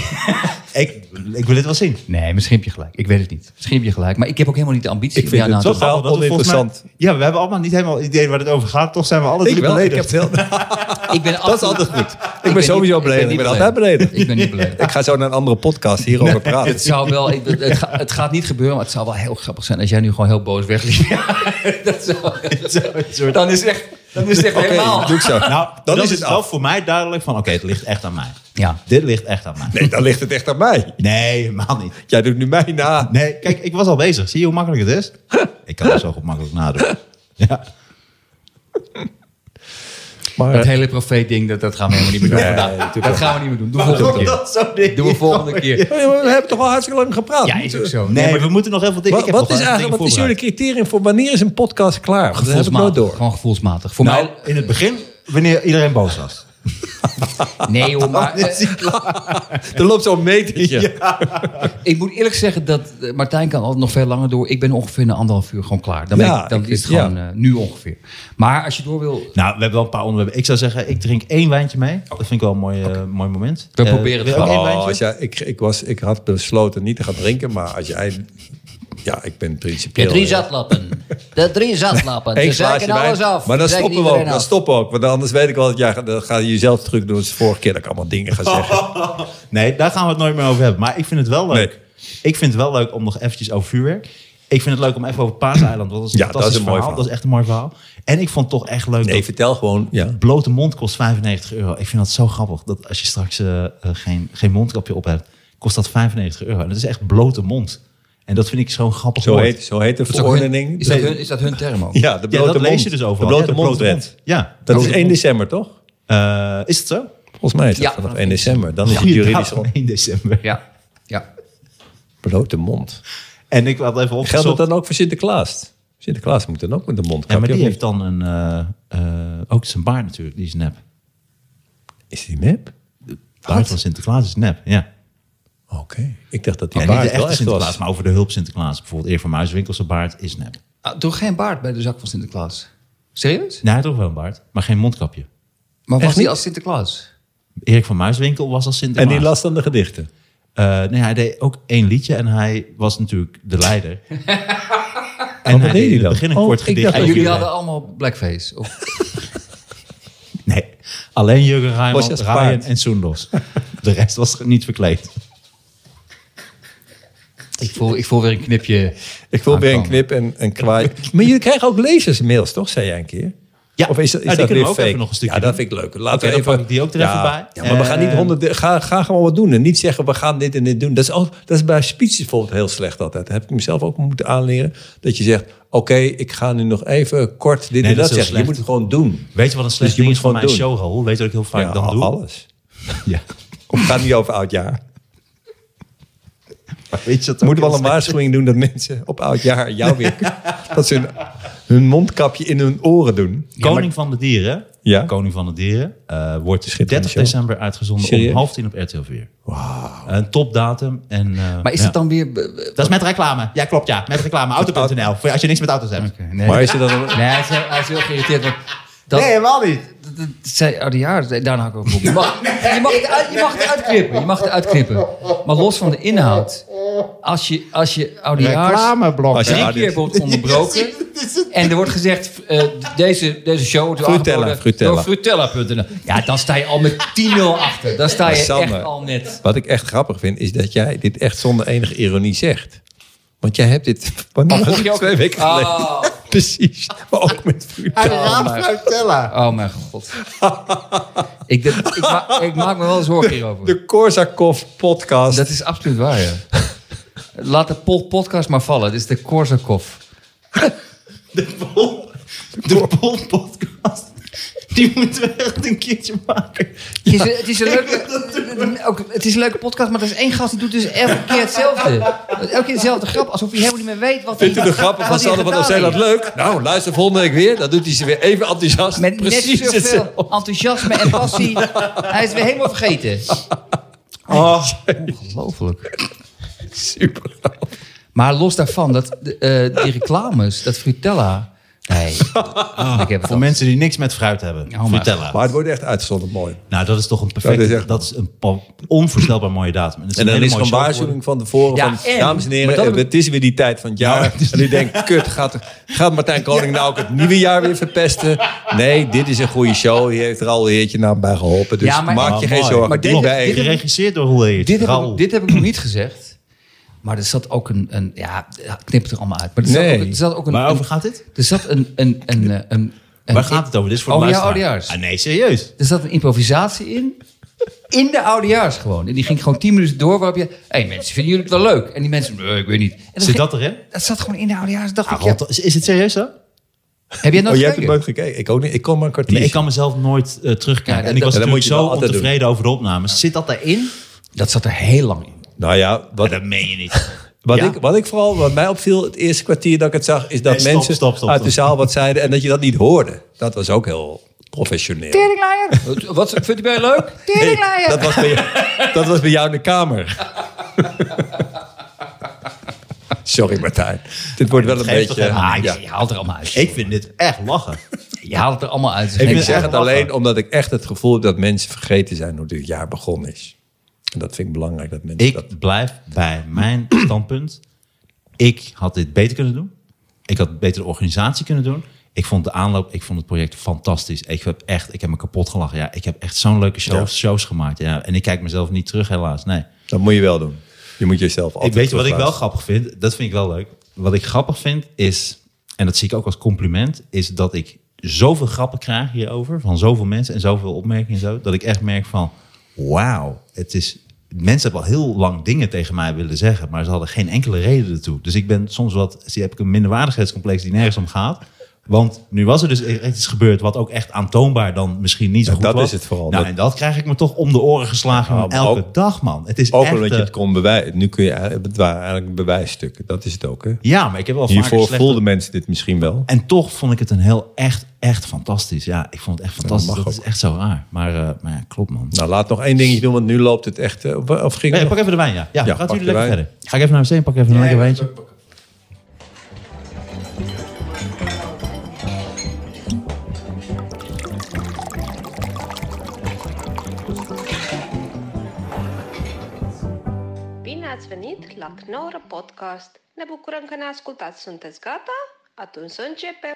S1: Ik, ik wil dit wel zien.
S3: Nee, misschien heb je gelijk. Ik weet het niet. Misschien heb je gelijk. Maar ik heb ook helemaal niet de ambitie.
S2: Ik
S3: om
S2: vind
S3: jou nou na
S2: het
S3: te
S2: toch Totaal
S1: Grappig dat we volgens mij-
S2: oninteressant.
S1: ja, we hebben allemaal niet helemaal idee waar het over gaat. Toch zijn we alle
S2: Ik
S1: drie
S2: wel. Ik heb
S1: beledigd.
S2: veel.
S3: doen. Ik ben
S2: Dat is altijd goed. Ik, ben, sowieso beledigd. Ik ben altijd beledigd.
S3: Ik ben niet beledigd.
S2: Ik ga zo naar een andere podcast hierover praten.
S3: Het, zou wel, ik- het, het, ga- het gaat niet gebeuren, maar het zou wel heel grappig zijn als jij nu gewoon heel boos wegliep. dat zou, dan is echt, dan is het echt
S2: Oké,
S3: helemaal.
S2: doe ik zo.
S1: Nou,
S2: dan
S1: dat
S2: is
S1: is,
S2: het
S1: het
S2: af.
S1: wel voor mij duidelijk van, oké, het ligt echt aan mij.
S3: Ja.
S1: Dit ligt echt aan mij.
S2: Nee, dan ligt het echt aan mij.
S1: Nee, helemaal niet.
S2: Jij doet nu mij na.
S1: Nee, kijk, ik was al bezig. Zie je hoe makkelijk het is? Ik kan het zo goed makkelijk nadoen. Ja.
S2: Maar,
S3: Dat hele profeet-ding, dat, dat gaan we helemaal niet meer doen.
S2: Nee,
S3: vandaag.
S2: natuurlijk
S3: dat gaan we niet meer doen. Doe volgende keer.
S1: zo ding?
S3: Doe we volgende keer.
S2: Oh, we hebben toch al hartstikke lang gepraat.
S3: Ja, is ook zo.
S1: Nee, maar we moeten nog heel veel dingen.
S2: Wat, wat is eigenlijk wat is jullie criterium voor wanneer is een podcast klaar? Dat heb ik nooit
S3: Gevoelsmatig.
S2: door.
S3: Gewoon gevoelsmatig. Voor
S1: Nou,
S3: mij,
S1: in het begin, wanneer iedereen boos was.
S3: nee joh, maar eh,
S2: Er loopt zo'n metertje.
S3: ik moet eerlijk zeggen dat eh, Martijn kan altijd nog veel langer door. Ik ben ongeveer na anderhalf uur gewoon klaar. Dan, ben
S2: Ja,
S3: ik- dan
S2: ik
S3: is het
S2: vind-
S3: gewoon eh, nu ongeveer. Maar als je door wil,
S1: Nou, we hebben wel een paar onderwerpen. Ik zou zeggen, ik drink één wijntje mee. Dat vind ik wel een mooi, eh, mooi moment.
S3: We
S1: Eh,
S3: proberen het
S1: wil je ook
S3: wel.
S1: één
S2: Oh,
S1: wijntje?
S2: als jij, ik, ik, was, ik had besloten niet te gaan drinken, maar als jij... Ja, ik ben
S4: De
S2: principieel.
S4: drie
S2: ja.
S4: zatlappen. De drie zatlappen.
S2: Eén
S4: Ze
S2: glaasje
S4: zeiken alles
S2: wijn.
S4: af.
S2: Maar dan
S4: Ze zeiken
S2: stoppen we ook.
S4: iedereen
S2: Dan
S4: af.
S2: stoppen we ook. Want anders weet ik wel dat jij gaat- dan ga je jezelf terug doen. als de vorige keer dat ik allemaal dingen ga zeggen.
S1: Nee, daar gaan we het nooit meer over hebben. Maar ik vind het wel leuk. Ik vind het wel leuk om nog eventjes over vuurwerk. Ik vind het leuk om even over Paaseiland. Want dat is een
S2: Ja,
S1: fantastisch
S2: dat is een mooi
S1: verhaal. Dat is echt een mooi verhaal. En ik vond het toch echt leuk
S2: Nee,
S1: dat
S2: vertel gewoon. Ja.
S1: blote mond kost 95 euro. Ik vind dat zo grappig. Dat als je straks eh, eh, geen, geen mondkapje op hebt, kost dat 95 euro. En dat is echt blote mond. En dat vind ik zo'n grappig
S2: Zo
S1: woord.
S2: heet, zo heet de
S3: is, ook hun,
S2: verordening.
S3: is, dat hun, is dat hun term ook?
S2: Ja, de
S1: ja,
S2: blote
S1: dat
S2: mond.
S1: lees je dus overal.
S2: De blote
S1: Ja,
S2: mondwet.
S1: Ja.
S2: Dat is
S1: Blote
S2: 1
S1: mond.
S2: december, toch?
S1: Eh, is het zo?
S2: Volgens mij is dat
S3: Ja.
S2: vanaf 1 december. Dan is het juridisch
S1: Inderdaad, 1 december.
S3: Ja. ja.
S2: blote mond.
S1: En ik had even
S2: Geldt dat
S1: opgezocht.
S2: dan ook voor Sinterklaas? Sinterklaas moet dan ook met de mond.
S1: Ja, maar die heeft dan een, eh, eh, ook zijn baard natuurlijk. Die is nep.
S2: Is die nep?
S1: baard van Sinterklaas is nep, ja.
S2: Oké. Ik dacht dat die
S1: En
S2: baard
S1: niet de
S2: wel
S1: echte
S2: echt
S1: Sinterklaas,
S2: was.
S1: maar over de hulp Sinterklaas. Bijvoorbeeld Eer van Muiswinkel, zijn baard is nep.
S3: Ah, Droeg geen baard bij de zak van Sinterklaas. Serieus?
S1: Nee, hij had ook wel een baard, maar geen mondkapje.
S3: Maar was
S2: niet?
S3: die als Sinterklaas?
S1: Erik van Muiswinkel was als
S2: En
S1: Sinterklaas.
S2: die las dan de gedichten.
S1: Eh, nee, hij deed ook één liedje en hij was natuurlijk de leider. en
S2: Oh, deed hij
S1: in het
S2: dan?
S1: begin een
S2: Oh,
S1: kort
S2: ik
S1: gedicht.
S2: dacht
S3: En
S1: over-
S3: jullie hadden allemaal blackface? Of,
S1: Nee, alleen Jurgen
S2: Was je
S1: Rijman,
S2: als
S1: Ryan
S2: paard?
S1: en Soendos. De rest was niet verkleed.
S3: ik, voel, ik voel weer een knipje.
S2: Ik wil weer een
S3: aankomen.
S2: knip en een kwaai. maar jullie krijgen ook lezersmails, toch? Zei jij een keer?
S1: Ja.
S2: Of is, dat- is
S1: Ja, die
S2: dat
S1: kunnen we
S2: weer
S1: ook
S2: fake?
S1: even nog een stukje
S2: Ja, dat
S1: doen.
S2: vind ik leuk. Laten
S1: Oké,
S2: we
S1: dan
S2: even...
S1: pak ik die ook er
S2: ja,
S1: even bij.
S2: Ja, maar we gaan niet
S1: Eh,
S2: honderd... Ga, ga gewoon wat doen. En niet zeggen, we gaan dit en dit doen. Dat is, al, dat is bij speeches bijvoorbeeld heel slecht altijd. Dat heb ik mezelf ook moeten aanleren. Dat je zegt, oké, ik ga nu nog even kort dit en
S1: dat is
S2: dat
S1: heel
S2: zeggen. Je
S1: slecht.
S2: moet het gewoon doen.
S1: Weet je wat een
S2: Dus
S1: slecht
S2: je
S1: ding
S2: moet
S1: is van mijn
S2: gewoon doen.
S1: show, Raoul? Weet je wat ik heel vaak
S2: Ja,
S1: dan
S2: al-
S1: doe?
S2: alles.
S1: Ja.
S2: Of het gaat niet over oudjaar.
S1: Weet je dat
S2: Moeten we wel een waarschuwing doen dat mensen op oudjaar jou weer... dat ze hun, hun mondkapje in hun oren doen.
S1: Koning van de Dieren,
S2: Ja.
S1: Koning van de Dieren, eh, wordt
S2: Schitterende
S1: 30
S2: show.
S1: december uitgezonden
S2: Serieus?
S1: om half tien op RTL 4. Een topdatum. En, eh,
S3: Maar is
S1: ja.
S3: het dan weer... be- be-
S1: Dat is met reclame. Ja, klopt ja. Met reclame. Auto.nl. Voor als je niks met auto's hebt.
S3: Oké, nee.
S2: Maar is er dan... een-
S3: Nee, hij is, heel- hij is heel geïrriteerd. Want dat,
S1: Nee, helemaal niet.
S3: dat, dat zei oh, oudejaars, daarna had ik nou ook op. Je mag, je, mag het uit, je mag het uitknippen. Je mag het uitknippen. Maar los van de inhoud. Als je, als je oudejaars...
S1: Reclameblok.
S2: Als je
S3: Drie
S2: Ja,
S3: keer
S2: dit-
S3: wordt onderbroken. En er wordt gezegd, eh, deze, deze show wordt
S2: Frutella,
S3: aangeboden
S2: Frutella.
S3: door Frutella.nl. Ja, dan sta je al met 10-0 achter. Dan sta
S2: Maar
S3: je
S2: Sander-
S3: echt al net.
S2: Wat ik echt grappig vind, is dat jij dit echt zonder enige ironie zegt. Want jij hebt dit wanneer was
S3: mocht je
S2: het?
S3: ook-
S2: twee weken
S3: Oh.
S2: geleden. Precies. Maar ook met
S3: Ah.
S2: vuur.
S3: mijn- Oh mijn god. ik, dat- ik, ma- ik maak me wel zorgen hierover.
S2: De Korsakov podcast.
S3: Dat is absoluut waar, ja. Laat de pol- podcast maar vallen. Dit is de Korsakov.
S1: De Pol, de Pol podcast. Die moeten we echt een keertje maken.
S3: Het is, het, is een leuke, ook, het is een leuke podcast, maar er is één gast die doet dus elke keer hetzelfde. Elke keer dezelfde grap, alsof hij helemaal niet meer weet wat hij
S2: Vindt u de grappen van
S3: wat hij
S2: Sander van
S3: Ah, gedaan
S2: zijn dat
S3: heeft.
S2: leuk? Nou, luister volgende week weer. Dan doet hij ze weer even enthousiast.
S3: Met
S2: Precies
S3: net
S2: hetzelfde.
S3: zoveel enthousiasme en passie. Hij is weer helemaal vergeten. Ah.
S1: Oh,
S3: Ongelooflijk.
S2: Super.
S3: Maar los daarvan, dat, de, eh, die reclames, dat Frutella. Nee, ik heb het
S1: voor
S3: al.
S1: mensen die niks met fruit hebben.
S3: Oh, maar-
S1: Vertellen.
S2: Maar het wordt echt uitzonderlijk mooi.
S1: Nou, dat is toch een perfecte...
S2: Dat
S1: Dat
S2: is
S1: is,
S2: echt-
S1: een pa- onvoorstelbaar mooie datum. En, dat
S2: En
S1: is een
S2: dan
S1: hele
S2: is er
S1: mooie
S2: een
S1: show
S2: waarschuwing van tevoren.
S3: Ja,
S2: van,
S3: en-
S2: dames en heren,
S3: maar dat-
S2: eh, het is weer die tijd van het jaar. En u denkt, kut, gaat, gaat Martijn Koning nou ook het nieuwe jaar weer verpesten? Nee, dit is een goede show. Die heeft er al een heertje nou bij geholpen. Dus
S3: Ja, maar-
S2: maak
S1: geworden.
S2: je geen
S1: Ah, mooi.
S2: zorgen.
S3: Maar dit-
S2: Die
S1: Klopt.
S2: bij-
S3: dit-
S1: Geregisseerd door hoe heet
S3: Dit heb,
S1: Raoul.
S3: ik, dit heb ik nog niet gezegd. Maar er zat ook een... een ja, knip het er allemaal uit. Maar er zat
S2: Nee.
S3: ook, er zat ook een,
S1: Waarover
S3: een-
S1: gaat dit?
S3: Er zat een... een, een, eh, een, een
S1: Waar gaat het over? Dit is voor de
S3: Oudejaar-
S1: luisteraar.
S3: oudejaars.
S1: Ah, nee, serieus.
S3: Er zat een improvisatie in. In de oudejaars gewoon. En die ging gewoon tien minuten door waarop je... Hé hey, mensen, vinden jullie het wel leuk? En die mensen... Nee, ik weet niet. En dan
S1: Zit
S3: ging-
S1: dat erin?
S3: dat zat gewoon in de oudejaars. Dacht
S1: Ah,
S3: ik, ja,
S1: rot- is, is het serieus zo?
S3: heb jij
S2: Oh,
S3: dat
S2: jij
S3: gekeken?
S2: hebt het nooit gekeken. Ik ook niet. Ik kom maar een kwartier.
S1: Nee, ik kan mezelf nooit eh, terugkijken.
S3: Ja,
S1: en ik was
S2: dat- dat moet
S1: natuurlijk
S2: je
S1: zo
S2: wel altijd
S1: ontevreden over de opnames. Zit dat daarin?
S3: Dat zat er heel lang in.
S2: Nou ja, wat,
S1: Dat meen je niet.
S2: wat,
S1: Ja.
S2: ik, wat ik vooral, wat mij opviel het eerste kwartier dat ik het zag, is dat
S1: Nee, stop,
S2: mensen
S1: stop, stop,
S2: uit de
S1: stop.
S2: zaal wat zeiden en dat je dat niet hoorde. Dat was ook heel professioneel.
S3: Wat vindt u bij leuk?
S2: Nee, dat, was bij jou, dat was bij jou in de kamer. Sorry Martijn. Dit wordt wel een
S1: geeft toch
S2: beetje...
S1: helemaal
S3: Ah,
S2: Ja.
S3: je, je haalt er allemaal uit.
S1: Ik vind dit echt lachen.
S3: Je haalt het er allemaal uit.
S2: Ik
S3: Nee,
S2: zeg
S1: echt
S2: het
S1: lachen.
S2: alleen omdat ik echt het gevoel heb dat mensen vergeten zijn hoe dit jaar begonnen is. En dat vind ik belangrijk dat mensen dat...
S1: Ik blijf bij mijn standpunt. Ik had dit beter kunnen doen. Ik had beter de organisatie kunnen doen. Ik vond de aanloop, ik vond het project fantastisch. Ik heb echt, ik heb me kapot gelachen. Ja, ik heb echt zo'n leuke shows,
S2: Ja.
S1: shows gemaakt. Ja, en ik kijk mezelf niet terug helaas. Nee.
S2: Dat moet je wel doen. Je moet jezelf altijd
S1: Ik weet je wat ik wel
S2: terugluisteren.
S1: grappig vind? Dat vind ik wel leuk. Wat ik grappig vind is, en dat zie ik ook als compliment, is dat ik zoveel grappen krijg hierover van zoveel mensen en zoveel opmerkingen en zo, dat ik echt merk van, wauw, het is. Mensen hebben al heel lang dingen tegen mij willen zeggen, maar ze hadden geen enkele reden ertoe. Dus ik ben soms wat, zie, heb ik een minderwaardigheidscomplex die nergens om gaat. Want nu was er dus echt iets gebeurd wat ook echt aantoonbaar dan misschien niet zo
S2: Ja,
S1: goed
S2: dat
S1: was.
S2: is het vooral.
S1: Nou,
S2: Dat-
S1: en dat krijg ik me toch om de oren geslagen
S2: Ja, maar
S1: elke
S2: ook-
S1: dag, man. Het is
S2: Ook
S1: echt,
S2: omdat je
S1: eh,
S2: het kon bewijzen. Nu kun je, eh, het waren eigenlijk bewijsstukken. Dat is het ook, hè?
S1: Ja, maar ik heb wel vaker
S2: Hiervoor
S1: slechte-
S2: voelden mensen dit misschien wel.
S1: En toch vond ik het een heel echt, echt fantastisch. Ja, ik vond het echt fantastisch.
S2: mag
S1: dat is
S2: ook.
S1: echt zo raar. Maar, eh, maar ja, klopt man.
S2: Nou, laat nog één dingetje doen, want nu loopt het echt... eh, Of ging
S1: Hey,
S2: het
S1: pak even de wijn, ja. Ja,
S2: Ja,
S1: gaat
S2: pak
S1: jullie
S2: de
S1: lekker
S2: wijn.
S1: verder. Ga ik even naar de zee en pak even een lekker wijntje.
S5: Bine ați venit la Knorr Podcast! Ne bucurăm că ne ascultați! Sunteți gata? Atunci să începem!